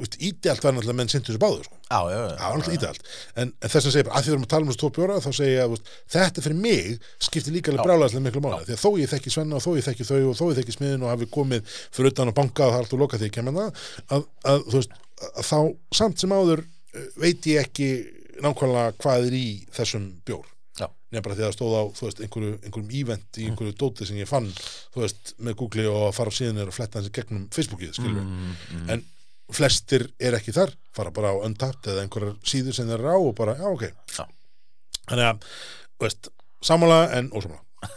A: ídjalt var náttúrulega menn sintu þessu báður sko.
B: já, já, já,
A: Já, alltaf ídælt. En, en þess að segja bara, að því við erum að tala um þessu tvo bjóra, þá segja ég að þú veist, þetta fyrir mig skiptir líka alveg brálaðislega miklu máli. Því að þó ég þekki Svenna og þó ég þekki þau og þó ég þekki smiðin og hafi komið fyrir utan á banka og það er alltaf lokað því ég kemur það, að, að þú veist, að þá samt sem áður eh, veit ég ekki nákvæmlega hvað er í þessum bjór
B: Já.
A: nefn bara því að það stóð á þú veist, einhverju, einhverjum ívent
B: Mm.
A: í einhverju dóti sem ég fann þú veist, með Google og að fara á síðan er að fletta hans í gegnum Facebookið skilur
B: Mm,
A: en flestir er ekki þar fara bara á Untappd eða einhverjar síður sem þeir eru á og bara, já ok
B: Já.
A: þannig að, þú veist, sammála en ósammála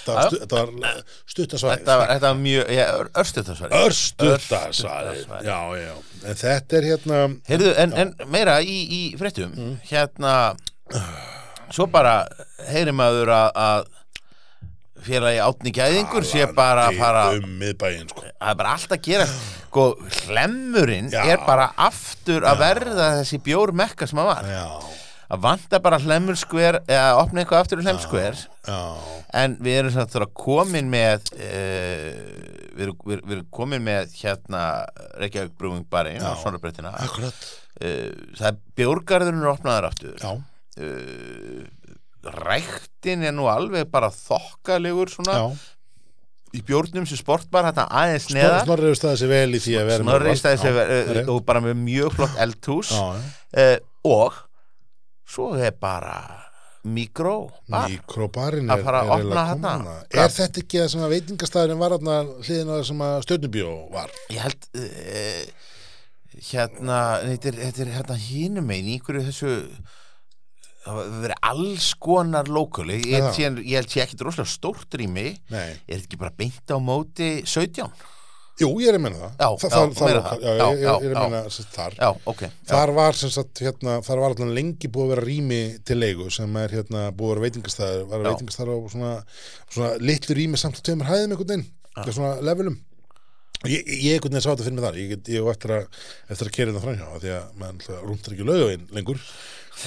A: þetta var,
B: Já,
A: stu, þetta var stuttasvæði
B: Þetta var, þetta var mjög, ég, örstuð það svari
A: örstuttasvæði
B: Örstuttasvæði.
A: já, já, en þetta er hérna
B: Heyrðu, en, en meira í, í fréttum
A: Mm.
B: Hérna Svo bara heyri maður að, að félagi átni gæðingur sé bara að fara
A: um miðbæinn sko
B: það er bara allt að gera sko, hlemmurinn
A: Já.
B: er bara aftur að verða þessi bjór mekka sem að var
A: já,
B: að vanta bara hlemurskver eða opna eitthvað aftur í hlemskver
A: já,
B: en við erum samt að komin með uh, við, erum, við, erum- við erum komin með hérna Reykjavík Brewing Barinn á Sónarbrettina uh,
A: akkurat
B: það er bjórgarðurinn er opnaðar aftur
A: já,
B: uh, ræktin er nú alveg bara þokkalegur svona
A: já,
B: í bjórnum sem sportbar hérna aðeins
A: Snor-
B: neðar
A: snorri hefur staðið sér vel í því að vera
B: Snorri stæði sig eh,
A: já,
B: verið og bara með mjög flott eldhús
A: já,
B: uh,
A: já.
B: og svo er bara mikró bar.
A: Mikrobarinn
B: Að
A: er,
B: fara að
A: er eiginlega
B: opna
A: komin
B: þarna.
A: hana. Er þetta ekki það sem að veitingastæðurinn var þarna hliðin á það sem að stjörnubjó var?
B: ég held uh, hérna þetta er, þetta er hérna hínum einn í einhverju þessu það hafa verið alls konar lókuli ég held
A: Já.
B: sé, ég held sé ekkit rosalega stórt rými
A: Nei.
B: er þetta ekki bara beint á móti 17
A: Jú, ég er að menna það.
B: Já,
A: Þa-
B: já,
A: það- það
B: meira
A: var-
B: það.
A: Já,
B: Já,
A: ég- ég ég er
B: já,
A: að menna sem sagt þar.
B: já ok já,
A: Þar var sem sagt, hérna, þar var allan lengi búið að vera rými til leigu sem er hérna búið að vera veitingastæður, var
B: Já.
A: veitingastæður á svona, svona litlu rými samt að tveimur hæðum einhvern veginn, ja. svona levelum. Og Ég, ég ég einhvern veginn sá þetta fyrir mig þar, ég, get- ég á eftir að, eftir að kera þetta framhjá, af því að maður rúntar ekki lögavinn lengur.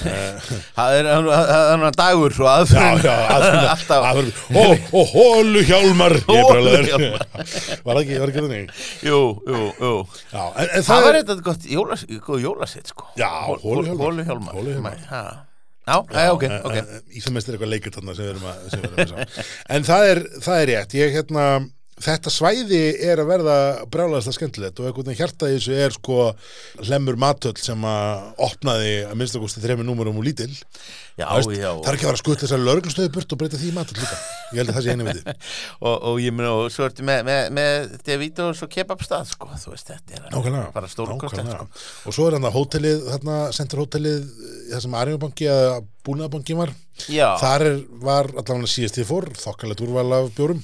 B: það er það er- það er hann dagur svo
A: Já,
B: aðfyrir
A: já, aðfinna,
B: alltaf
A: aðfinna, ó, ó, hólu hjálmar, ég er brælaður.
B: Hóluhjálmar.
A: var það ekki, var ekki þannig.
B: jú, jú, jú
A: Já, en, en það,
B: Það var
A: er,
B: eitthvað gott jólas, góð jólasett sko
A: Já, hóluhjálmar.
B: Hóluhjálmar
A: Hóluhjálmar.
B: Ha. Já, já, ok,
A: eh,
B: ok
A: Íþjómest er eitthvað leikert þarna sem við erum að, sem við erum að sjá. En það er, það er rétt, ég hérna, þetta svæði er að verða brjálæðast að skemmtilegt og einhvern veginn hjarta í þessu er sko hlemmur matöll sem að opnaði að minnstakosti þremur númurum úr lítil.
B: Já,
A: Veist,
B: já
A: Það er ekki að fara að skuta þessar lögreglustöðu burt og breyta því í matöll líka. Ég held að það sé einu viti.
B: og, og ég meina, og svo ertu með, með, með Davidos og kebabstað sko Þú veist, þetta er
A: Nákvæmlega.
B: bara stórkostlegt
A: Nákvæmlega.
B: sko
A: Og svo er hann að hótelið, þarna, sendur hótelið, það sem Arjóbanki eða Búnaðabanki var.
B: Já,
A: Þar er, var allavega síðast ég fór, þokkalegt úrval af bjórum.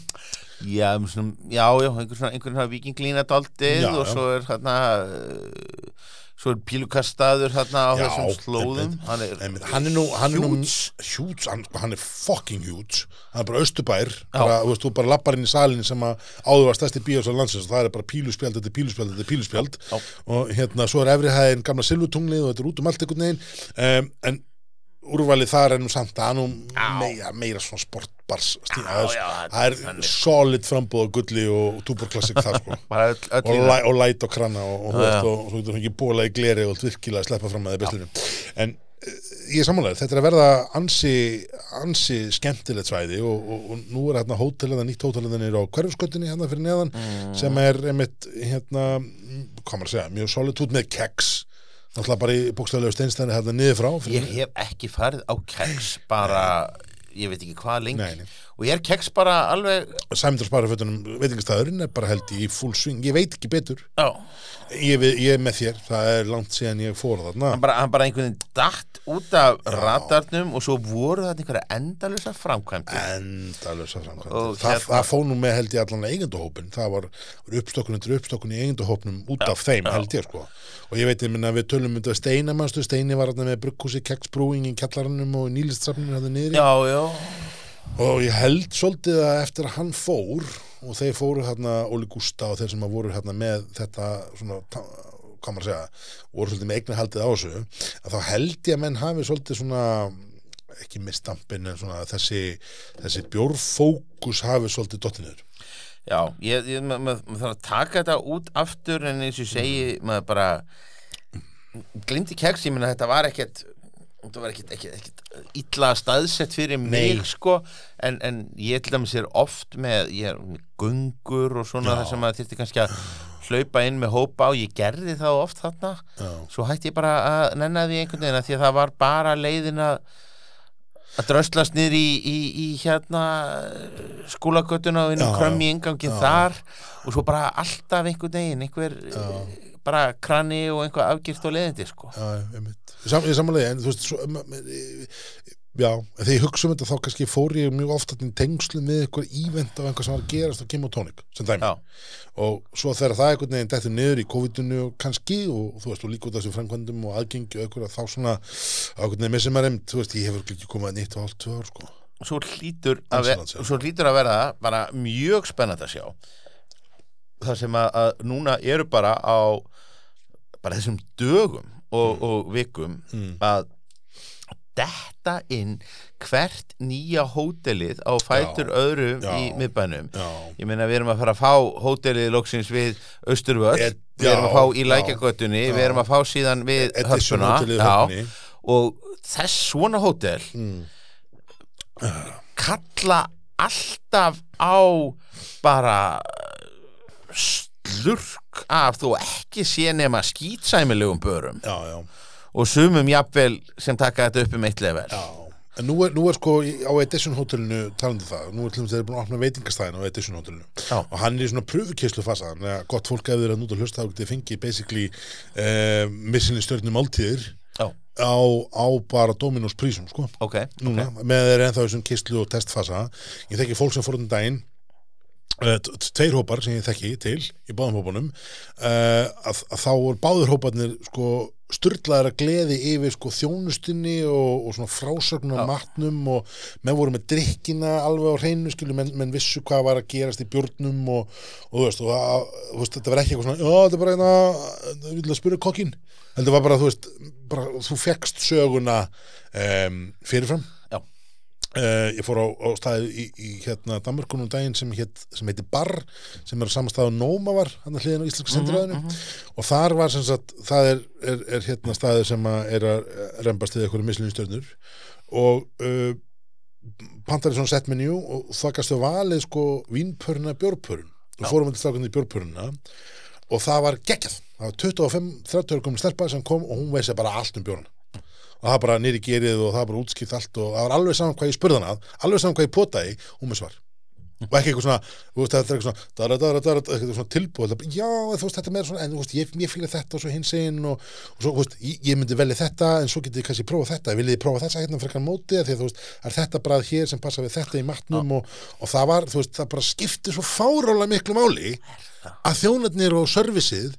B: já, um svona, já, já, einhvern svona, einhvern svona vikinglína daldið
A: Já,
B: og
A: já.
B: svo er þarna uh, Svo er pílukastaður þarna á
A: Já,
B: þessum slóðum
A: einmitt,
B: Hann er,
A: Einmitt, hann er nú hann er nú-
B: Huge.
A: huge hann, sko, hann er fucking huge hann er bara austubær bara, þú veist, þú bara lappar inn í salin sem að áður var stærsti bíós á landsins og það er bara píluspjald, þetta er píluspjald, þetta er píluspjald
B: Já.
A: og hérna, svo er efrihæðin gamla silvutunglið og þetta er út um allt einhvern veginn um, en úrvalið þar er nú samt að nú meira, meira svona sportbars stíl,
B: Já,
A: það er-
B: já, þetta
A: það
B: er
A: er
B: þannig.
A: solid frambúð á gulli og túborklassik það sko
B: bara öll, öll
A: og,
B: lína.
A: læ, og læt og kranna og, og, þú
B: Já,
A: veist,
B: já.
A: og, og svo getur fengið bóla í gleri og allt virkilega að sleppa fram að þið beslunum en eh, ég er sammálaður, þetta er að verða ansi, ansi skemmtilegt svæði og, og, og nú er hérna hótelið nýtt hótelið er á hverfsköttinni hérna fyrir neðan
B: Mm.
A: sem er einmitt hérna, mm, hvað maður að segja, mjög solid út með keks náttúrulega bara í bókstæðlega steinstæðinu hérna niður frá fyrir,
B: Ég hef ekki farið á keks bara, ég veit ekki hvað lengi
A: Nei, nei.
B: og ég er keks bara alveg
A: Sæmundur Sparafötunum veitingastæðurinn er bara held ég í full swing, ég veit ekki betur
B: já,
A: ég, við- ég er með þér, það er langt síðan ég fór þarna
B: hann bara, hann bara einhvern veginn datt út af radarnum og svo voru þetta einhverja endalusa framkvæmdi
A: endalösa framkvæmt
B: Og
A: það,
B: hérna-
A: það fóð nú með held ég allan eigendahópin það var uppstokkun undir uppstokkun í eigendahópnum út af þeim held ég sko og ég veit ég minna við tölum myndu að steina mannstu steini var þarna með brugghúsi, keksbrúing í kjallarannum og nýlistrafnir hann niðri
B: já, já,
A: og ég held svolítið að eftir að hann fór og þeir fóru þarna Óli Gústa og þeir sem að voru hérna með þetta svona, ta- hvað maður að segja voru svolítið með eignahaldið á þessu að þá held ég að menn hafi svolítið svona ekki með stampin en svona þessi, þessi bjórfókus hafi svolítið dottinur
B: já ég, ég, ma, ma, maður þarf að taka þetta út aftur en eins og ég segi,
A: Mm.
B: maður bara glimti keks, ég meina þetta var ekkert þetta var ekkert, ekkert, ekkert illa staðsett fyrir mig
A: Nei.
B: sko en, en ég til dæmis er oft með, ég er með gungur og svona
A: Já.
B: það sem maður þyrfti kannski að hlaupa inn með hópa og ég gerði það oft þarna
A: já,
B: svo hætti ég bara að nenna því einhvern veginn af því að það var bara leiðin að að dröslast niður í, í, í hérna skúlagötuna og inn
A: Já,
B: um
A: já.
B: krömmi engangin
A: Já.
B: þar og svo bara alltaf einhvern veginn, einhver eh, bara kranni og einhver afgift og leiðindi sko.
A: já, einmitt Ég sam, ég samanlega, en þú veist svo, ma- ma- e- já, þegar ég hugsa um þetta þá kannski fór ég mjög oft þarna í tengslu með eitthvað ívent af einhvað sem var að gerast á Kim og Tonic sem dæmi,
B: Já,
A: og svo þegar það einhvern veginn dættur niður í COVID-unu og kannski og þú veist, og líka út af þessum framkvæmdum og aðgengi og einhverja þá svona, á einhvern veginn missum að reynd, þú veist, ég hefur ekki komið að nýtt á allt tvö ár, sko
B: svo hlýtur að, ver,
A: Excellent, já.
B: svo hlýtur að verða bara mjög spennandi að sjá þar sem að, að núna eru bara á bara þessum dögum og, og vikum
A: Mm.
B: að detta inn hvert nýja hótelið á fætur öðrum
A: já.
B: í miðbænum
A: Já,
B: ég meina við erum að fara að fá hótelið loksins við Östurvöld
A: Ed-
B: við erum
A: já,
B: að fá í
A: já.
B: lækjagötunni við erum að fá síðan við
A: Edition
B: höfnuna
A: hótelið
B: já,
A: höfni
B: og þess svona hótel
A: mm.
B: kalla alltaf á bara uh, slurk af þó ekki sé nema skýtsæmilegum börum
A: Já, já,
B: og sumum jafnvel sem taka þetta upp um eitt level
A: já En nú er, nú er sko í- á Edition hótelinu talandi um það, nú er til þess að þeir eru búin að opna veitingastæðin á Edition hótelinu
B: Já.
A: og hann er í svona pröfukeslu fasa þannig að gott fólk ef þeir eru að núta hlusta þá getið fengið basically eh, missinni stjörnum áltíðir
B: Já,
A: á, á bara Dominos prísum sko
B: ok,
A: núna, með þeir ennþá í þessum kistlu og testfasa ég þekki fólk sem fór um daginn eh, t- t- tveir hópar sem ég þekki til í báðum hópunum uh, að, að þá voru báður hóparnir sko sturlaðar að gleði yfir sko þjónustinni og, og svona frásögn á
B: Já.
A: matnum og menn voru með drikkina alveg á hreinu skilur, menn, menn vissu hvað var að gerast í björnum og, og þú veist, og að, þú veist, þetta var ekki eitthvað svona, já, þetta er bara einna við viljum að spyrja kokkin, heldur var bara þú veist, bara, þú fekst söguna um, fyrirfram
B: Já.
A: Eh, ég fór á, á staðið í, í hérna Danmörkunum daginn sem, hét, sem heiti Bar sem er á sama stað og Nóma var hann hliðin á Íslenska sendiræðinu og þar var sem sagt, það er, er, er hérna staðið sem að er að rembast við eitthvað mislunum stjörnur og uh, pantaði svona set menu og það gastu valið sko vínpörna bjórpörun og fórum við til strákunni í bjórpöruna og það var geggjað það var 25-30 komin stelpa sem kom og hún veist bara allt um bjórna og það bara nýri gerið og það bara útskipt allt og það var alveg saman hvað ég spurði hann að alveg saman hvað ég potaði og með svar og ekki eitthvað svona, þú veist, þetta er eitthvað svona dara, dara, dara, eitthvað svona tilbúð þetta- já, þú veist, þetta er meira svona, en þú veist, ég, ég fíla þetta og svo hins einn og, og svo, þú veist, ég, ég myndi velja þetta en svo getið þið kannski prófa þetta, viljið þið prófa þessa hérna frekar móti, af því að þú veist, það er þetta brað hér sem passa við þetta í matnum og, og það var, þú veist, það bara skipti svo fárálega miklu máli að þjónarnir og servisið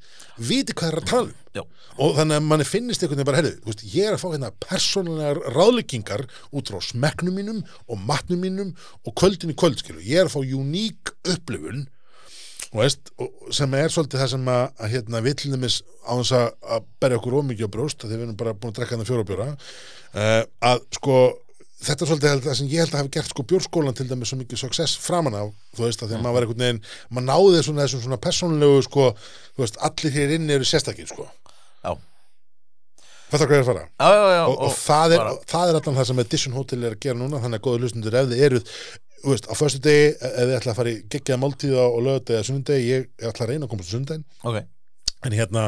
A: viti hvað það er að tala um
B: Já,
A: og þannig að manni finnist einhvern veginn bara heyrðu, þú veist, ég er að fá hérna persónulegar ráðleggingar út frá smekknum mínum og matnum mínum og kvöldin í kvöld skilu, ég er að fá uník upplifun þú veist, og sem er svolítið það sem að, að hérna, við til dæmis á þess að, að berja okkur ómikið á brjóst af því við erum bara búin að drekka þannig fjóra bjóra uh, að sko þetta er svolítið held- það sem ég held að hafi gert sko bjórskólan til dæmis svo mikið success framan af þú veist að því að maður var einhvern veginn maður náði svona þessum svona persónulegu sko þú veist allir hér inni eru sérstakir sko
B: já,
A: Þetta hvað ég er að fara?
B: já, já, já
A: Og, og, það, er,
B: bara-
A: það er allan það sem Edition Hotel er að gera núna, þannig að góðu hlustundur ef þið eruð, þú veist, á föstu degi e- ef þið ætla að fara í geggjaða máltíða og lögadegi eða sunnudegi, ég, ég ætla að reyna að komast á sunnudegin
B: ok,
A: en hérna,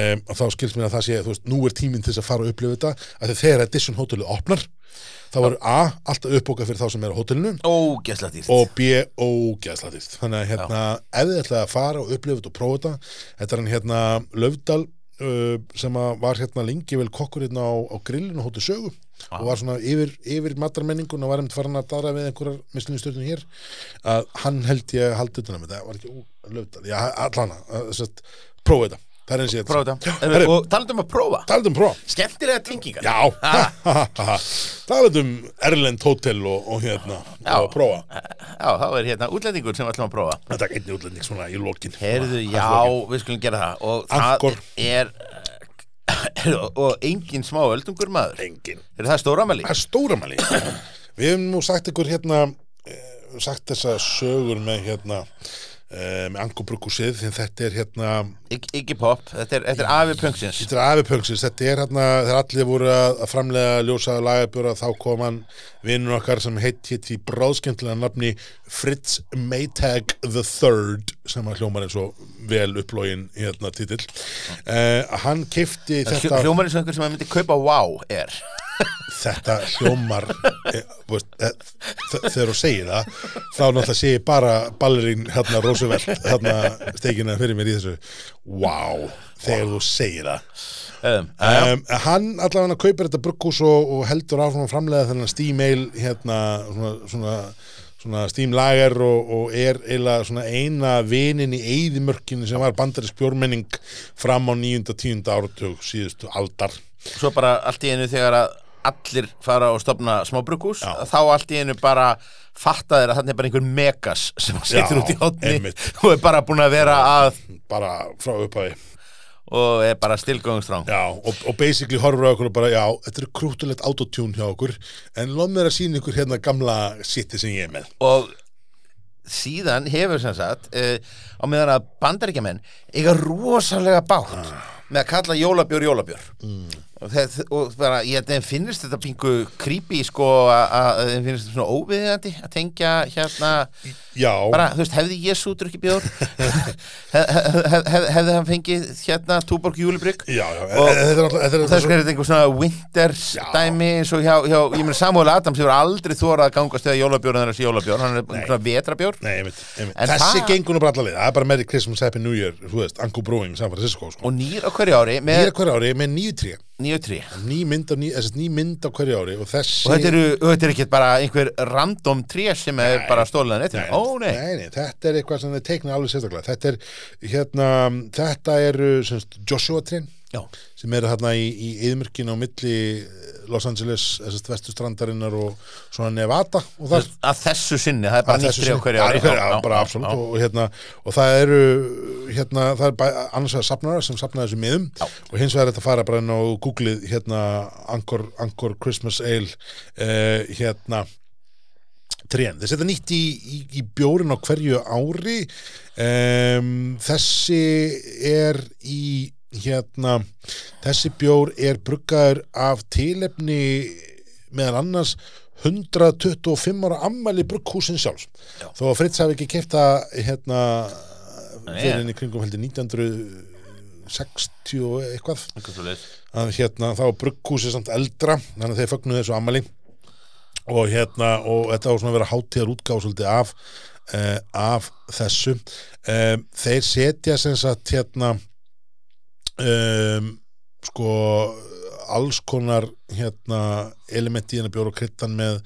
A: um, þá skilst mér að það sé þú veist, nú er tíminn til þess að fara og upplifa þetta að því þegar Edition Hotelið opnar þá verður A, alltaf uppbókað fyrir þá sem er á hótelinu
B: ógesla dýrt
A: og B, ógeðslega dýrt þannig að hérna, ef þið ætlaði að fara og upplifa þetta og prófa þetta, þetta er hann hérna Löfdal uh, sem að var hérna lengi vel kokkur hérna á, á grillinu hóti sögu
B: Ah.
A: og var svona yfir, yfir matarmenningun og var einmitt farin að dara við einhverjar mislinu stjórnum hér að hann held ég að haldi utan að þetta var ekki ó, Löfdal, já allana að, sett, prófa þetta, það er eins ég
B: prófa þetta,
A: Já,
B: Herru,
A: herru,
B: og talandum að prófa
A: talandi um prófa
B: skemmtilega tengingar
A: Já, ha, ha, ha, ha. talandi um Erlend Hotel og, og hérna
B: Já.
A: og prófa
B: já, þá er hérna útlendingur sem við ætlum að prófa
A: Þetta er einnig útlending svona í lokin
B: Heyrðu,
A: Svona,
B: já,
A: hans lokin.
B: við skulum gera það og
A: Angkor.
B: það er og- og engin smá öldungur maður
A: Engin
B: er það stóramæli?
A: Það er stóramæli Við hefum nú sagt ykkur hérna eh, sagt þessa sögur með hérna eh, með angobrukkusið því að þetta er hérna
B: Ig- Iggy Pop, þetta er, þetta er afi pöngsins
A: Þetta er afipöngsins, þetta er hérna þegar allir voru að að framlega ljósa lagabjóra þá kom hann vinnur okkar sem heitt hitt í bráðskemmtilega nafni Fritz Maytag the Third sem að hljómar eins og vel upplógin hérna titill uh, Hann keifti þetta
B: Hljómar eins og einhver sem að myndi kaupa wow er
A: þetta hljómar eh, þú veist, eh, þ- þegar þú segir það þá náttúrulega sé ég bara ballerín hérna Roosevelt hérna steikina fyrir mér í þessu wow, þegar þú segir það
B: um, um,
A: um, hann allavega kaupir þetta brugghús og, og heldur áfram að framlega þennan Steam Ale hérna, svona, svona, svona Steam Lager og, og er eiginlega svona eina vinin í eyðimörkinu sem var bandarisk bjórmenning fram á 9.10. áratug síðustu aldar
B: Svo bara allt í einu þegar að allir fara og stopna smá brugghús
A: Já.
B: þá allt í einu bara fatta þeir að þannig er bara einhver megas sem að
A: Já,
B: setur út í hotni
A: einmitt.
B: og er bara búin að vera að
A: bara frá upphafi
B: og er bara stilgöngstrang
A: já, og, og basically horfur á okkur og bara já, þetta er krúttulegt autotune hjá okkur en lof mér að sína ykkur hérna gamla sitti sem ég er með
B: og síðan hefur sem sagt uh, á meðan að bandaríkjamenn eiga rosalega bátt með að kalla jólabjör jólabjör og, það, og bara, ég þeim finnst þetta pingu creepy sko að að þeim finnst þetta svona óviðandi að tengja hérna
A: já,
B: bara, þú veist, hefði Jésu drukki bjór hef, hef, hef, hefði hann fengið hérna túborg júlibrygg
A: já, já, e-
B: Og-
A: þetta er alltaf þetta er
B: og þess
A: alltaf
B: vegna er þetta einhver svona winters
A: Já.
B: dæmi eins og hjá, hjá ég meina Samuel Adams hefur aldrei þórað að gangast eða jólabjór en þessi jólabjór, hann er einhver vetrabjór
A: Nei, einmitt, einmitt.
B: En
A: þessi
B: það-
A: gengur nú bara allaveg, það er bara Merry Christmas, Happy New Year, þú veist, Angu Brewing, San Francisco, sko.
B: og nýr á hverju ári
A: Ég er
B: með
A: á hverju ári með nýju tré,
B: nýju trí
A: ný mynd á, ný, þessi, ný mynd á hverju ári og þessi...
B: og þetta eru, og þetta er ekki bara einhver random tré sem er bara stólan eitt ó nei,
A: Nei, nei, þetta er eitthvað sem þeir teikna alveg sérstaklega. Þetta er, hérna, þetta eru semst, Joshua trén
B: já,
A: sem eru hérna í, í yðmörkinu á milli eh, Los Angeles, þessast vestustrandarinnar og svona Nevada og þar.
B: að þessu sinni það er bara
A: Að
B: nýtt
A: þessu
B: tré á
A: sinni.
B: hverju
A: Já,
B: ári
A: á hverju-
B: Já,
A: já,
B: já,
A: bara
B: já,
A: absolutt
B: já.
A: og, og hérna, og það eru hérna, það er bæ, annars vegar safnarar sem safnaði þessum miðum og hins vegar er þetta að fara bara inn á Google hérna, Angkor, Angkor Christmas Ale uh, hérna trén, þeir setja nýtt í, í, í bjórin á hverju ári um, þessi er í hérna þessi bjór er bruggaður af tilefni meðan annars 125 ára ammæli brugghúsin sjálfs
B: Já.
A: þó að Fritz hafi ekki kefta hérna
B: Nei.
A: fyrir henni kringum heldur 1960 og eitthvað
B: Eitthvað svoleiðis.
A: að hérna þá er brugghúsið samt eldra þannig að þeir fögnuðu þessu ammali og hérna og þetta á svona að vera hátíðar útgáð svolítið af eh, af þessu eh, þeir setja sem sagt hérna um, sko alls konar hérna elementi í hérna bjór og kryttan með,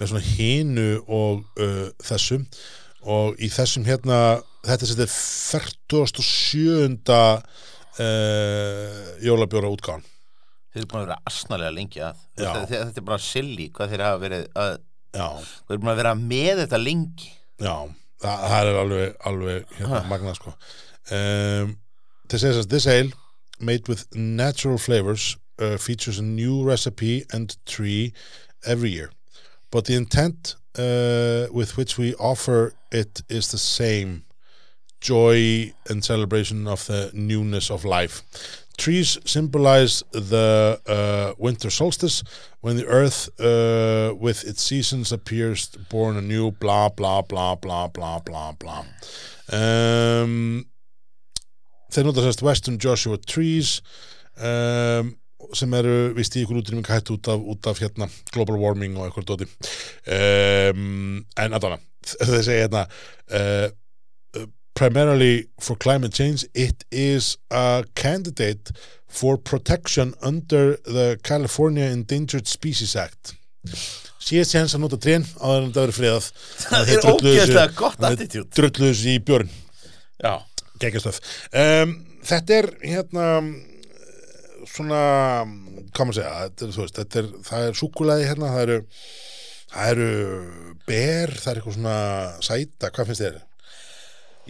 A: með svona hinu og uh, þessum og í þessum hérna þetta setja 47. Uh, jólabjóra útgáðan
B: þeir eru búin að vera asnalega lengi að
A: Já.
B: þetta, þetta er bara silly hvað þeir hafa verið að,
A: Já,
B: þeir eru búin að vera með þetta lengi
A: já, það, það er alveg, alveg hérna, magnað sko um, Þeir segja þess að this ale made with natural flavors uh, features a new recipe and tree every year but the intent uh, with which we offer it is the same joy and celebration of the newness of life. Trees symbolize the uh, winter solstice when the earth, uh, with its seasons, appears born anew. Blah blah blah blah blah blah blah. Um, þeir nota sérst Western Joshua Trees um, sem eru vist í ykkur útrýming hætt út af, út af hérna, global warming og eitthvað dóti um, en aðdána þeir segja hérna uh, primarily for climate change, it is a candidate for protection under the California Endangered Species Act. Síðan séðans að nota trén áður en þetta verið friðað.
B: það er ógeðslega gott attitude
A: Drulluðu þessu í björn,
B: já,
A: geggjastöð. Um, þetta er hérna svona, hvað maður segja, þetta er, þú veist, þetta er, það er súkulaði hérna, það eru, það eru ber, það er eitthvað svona sæta, hvað finnst þér?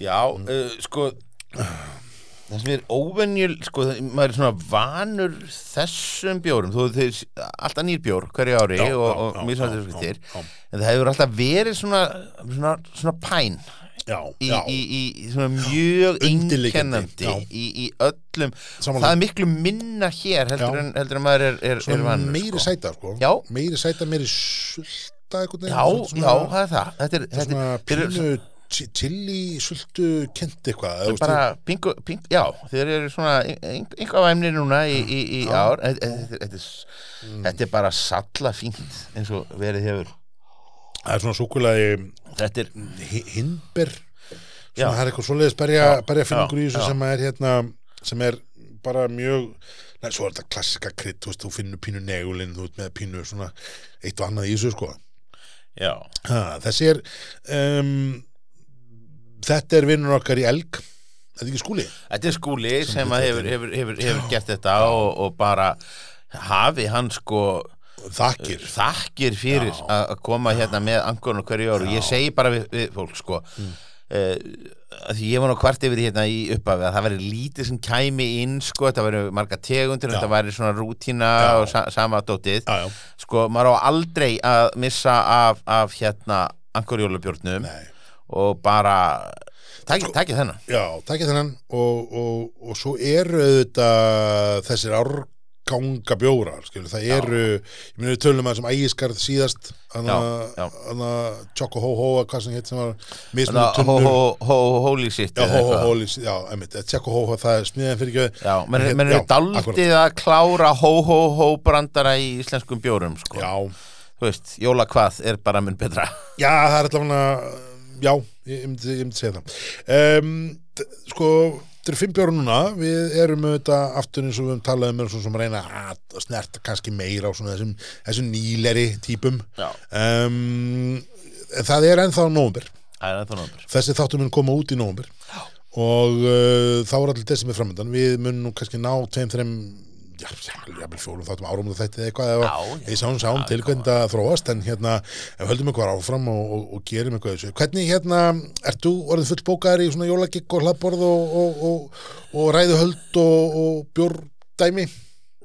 B: Já,
A: Mm.
B: uh, sko það sem er óvenjul sko, það- maður er svona vanur þessum bjórum, þú þeir alltaf nýr bjór hverju ári
A: Já,
B: og,
A: já,
B: og
A: já,
B: mjög
A: já,
B: svona þessum skiptir
A: já, já.
B: en það hefur alltaf verið svona svona, svona pæn
A: já,
B: í,
A: já,
B: í, í, í svona mjög
A: Undirliggjandi,
B: einkennandi
A: já.
B: í, í öllum
A: Samanlega.
B: það er miklu minna hér heldur,
A: Já.
B: en, heldur en maður er, er,
A: svona
B: er vanur
A: meiri
B: sko.
A: sæta sko.
B: Já.
A: meiri sæta, meiri sulta einhvern
B: já,
A: veginn,
B: já, það er það þetta er, þetta
A: svona
B: er, þetta er,
A: pínu chi- chili sultu kent eitthvað eða, þú veist,
B: bara pingu, pingu, já, þeir eru svona einhvað væmni núna í, í, í ár Þetta- þetta þetta er, s- þetta er bara salla fínt eins og verið hefur
A: það er svona súkulagi
B: þetta er,
A: hinber
B: Já.
A: svona það er eitthvað svoleiðis berja, berja í þessu
B: já.
A: sem er hérna sem er bara mjög Nei, svo er þetta klassika krydd, þú veist, þú finnur pínu negulinn, þú veist, með pínu svona eitt og annað í þessu, sko.
B: já,
A: Ha, þessi er, um, þetta er vinnur okkar í elg, þetta er ekki skúli.
B: þetta er skúli sem, að hefur, hefur, hefur, hefur
A: Já.
B: gert þetta og, og bara hafi hann sko
A: Þakir.
B: þakkir fyrir
A: Já.
B: að að koma hérna með angon og hverju ári og ég segi bara við, við fólk sko mm. því ég var nú kvart yfir því hérna í upphafi að það væri lítið sem kæmi inn sko, þetta væri marga tegundir
A: Já.
B: þetta væri svona rútína
A: Já.
B: og sa sama dótið
A: Já, já.
B: sko, maður á aldrei að missa af, af hérna angonjólubjörnum
A: Nei.
B: og bara takk, takk þennan
A: Já, takkja þennan og, og, og svo eru auðvitað þessir árganga bjórar skilur, það eru, ég meni við tölum að sem ægiskarð síðast
B: Já, já.
A: hana Choco Ho Ho hvað sem hétt sem var
B: Þannig
A: mismunum
B: að hó-
A: tunnur
B: hó- hó- Holy shit
A: Já,
B: eða
A: Ho Ho
B: eitthvað.
A: Ho, lýs- já, emitt, Choco Ho Ho það er smiðan fyrir ekki
B: Já, menn menn eru
A: akkúrat.
B: daldið að klára hó-hó-hó brandara í íslenskum bjórum sko.
A: Já,
B: þú veist, jóla hvað er bara mun betra
A: Já, það er allavega Já, ég, ég, myndi, ég myndi segja það um, Sko, þetta eru fimm bjóra núna Við erum auðvitað aftur eins og við höfum talað um erum svona sem reyna að snerta kannski meira á svona þessum, þessum nýleri típum
B: Já.
A: um, Það er ennþá nómber
B: Það er ennþá nómur
A: Þessi þáttum mun koma út í nómber og uh, þá er allir desember framöndan Við munum nú kannski ná tveim, þreim Já, jáfnvel fjórum þáttum árum og þetta eða eitthvað eða
B: Já, já.
A: ég sjáum sjáum til hvernig það þróast en hérna, ef höldum eitthvað áfram og, og, og gerum eitthvað í þessu. Hvernig hérna, ert þú orðin fullbókaður í svona jólagikk og hlaðborð og, og, og, og ræðuhöld og, og bjórdæmi?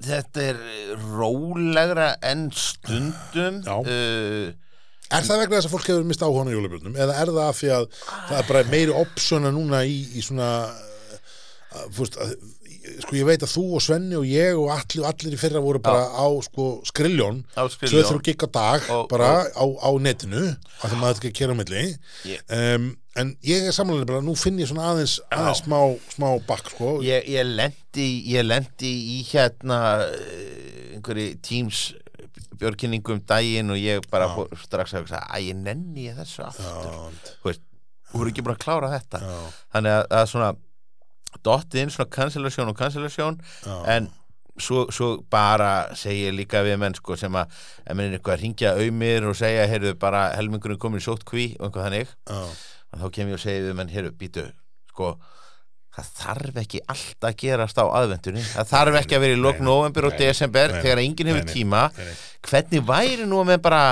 B: Þetta er rólegra en stundum
A: Já.
B: uh,
A: Er það vegna þess að fólk hefur mist áhugan á jólabjörnum eða er það af því að það er bara meiri opsjóna núna í, í svona að, fúst, að, sko ég veit að þú og Svenni og ég og allir, allir í fyrra voru bara á sko skriljón
B: Á skriljón.
A: 2-3 gig á dag
B: Og-
A: bara á, á netinu að það maður ekki að kera á milli
B: Ég-
A: um, en ég er samanlega bara nú finn ég svona aðeins, aðeins smá, smá bakk sko
B: ég, ég lendi ég lendi í hérna eh, einhverju tíms björkinningum daginn og ég bara fór, strax að hugsa að ég nenni ég þessu aftur Þú veist, þú voru ekki búin að klára þetta
A: Já.
B: þannig að, að svona dottið inn svona cancellation og cancellation en svo, svo bara segi ég líka við menn sko sem að ef menn er eitthvað að ringja auðmir og segja heyrðu bara helmingurinn komin í sótt kví og einhvað þannig
A: já,
B: og þá kem ég og segi við menn heyrðu býtu sko það þarf ekki allt að gerast á aðvendunni það þarf ekki að vera í lok
A: Nei,
B: november og
A: nei,
B: desember
A: nei,
B: þegar enginn
A: nei,
B: hefur
A: nei,
B: tíma
A: nei.
B: hvernig væri nú að menn bara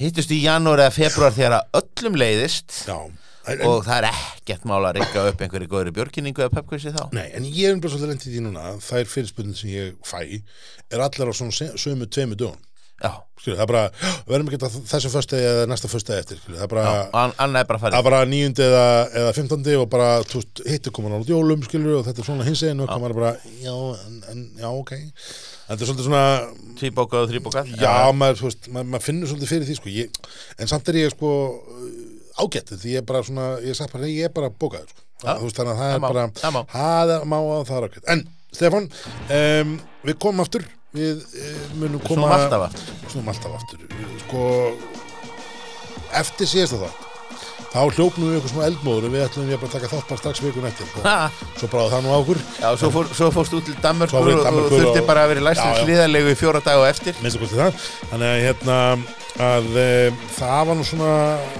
B: hittust í janúar eða februar þegar að öllum leiðist
A: já. En,
B: og það er ekkert mála að reyka upp einhverju góðri björkinningu eða pöpkvisi þá
A: Nei, en ég er bara svolítið lendið í því núna að þær fyrirspunni sem ég fæ er allar á svona se- sömu tveimu dögum
B: já,
A: skilur, það er bara, "Hó, við verðum ekki að geta þessum föstudegi eða næsta föstudegi eftir skilur, það er bara,
B: og an- annað er bara
A: það
B: farið
A: er bara nýjundi eða, eða 15. og bara þú veist, hittu komin á jólum skilur og þetta er svona hins einn og komar bara, já, en, en, já, ok þetta er svolítið svona
B: tvíbókað og þríbókað
A: Já, maður, þú veist, maður, maður finnur svolítið fyrir því sko. ég, en samt er ég sko uh, ágætt því ég er bara svona ég, sagt, bara, nei, ég er bara bókaður sko.
B: Já,
A: Þú veist, þannig að það
B: það
A: er
B: má,
A: bara
B: það má.
A: það er- má að það er ágætt en Stefán, um, við komum aftur við uh, munum koma
B: snúum alltaf aftur.
A: snúum alltaf aftur Við, sko, eftir síðasta þátt þá hljópnum við ykkur smá eldmóður og við ætlum við að taka þátt bara strax vikun eftir sko.
B: Ha,
A: svo bráði það nú á okkur
B: já, svo, fór, svo fórst út til
A: Svo
B: Danmörkur
A: fór í
B: og, og
A: Danmörkur
B: þurfti
A: og-
B: bara að vera læstur
A: Já, já.
B: hliðarlegu í fjóra dag og eftir
A: minnstu kosti það þannig að hérna að e, það var nú svona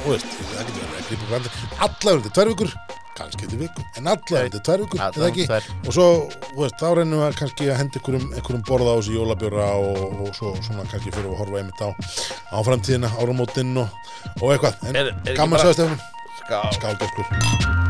A: þú veist, það getur verið að grípa brandi allavega undir tvær vikur, kannski undir viku en allavega undir tvær vikur,
B: Allavega
A: eða ekki
B: tvær.
A: og svo, þú veist, þá reynum við að kannski að henda einhverjum, einhverjum borða á þessu jólabjóra og, og svo svona kannski fyrir að horfa einmitt á, á framtíðina, áramótin og, og eitthvað, en
B: Er- er ekki
A: gaman
B: bara-
A: sögast efnum
B: Ská.
A: skáldaskur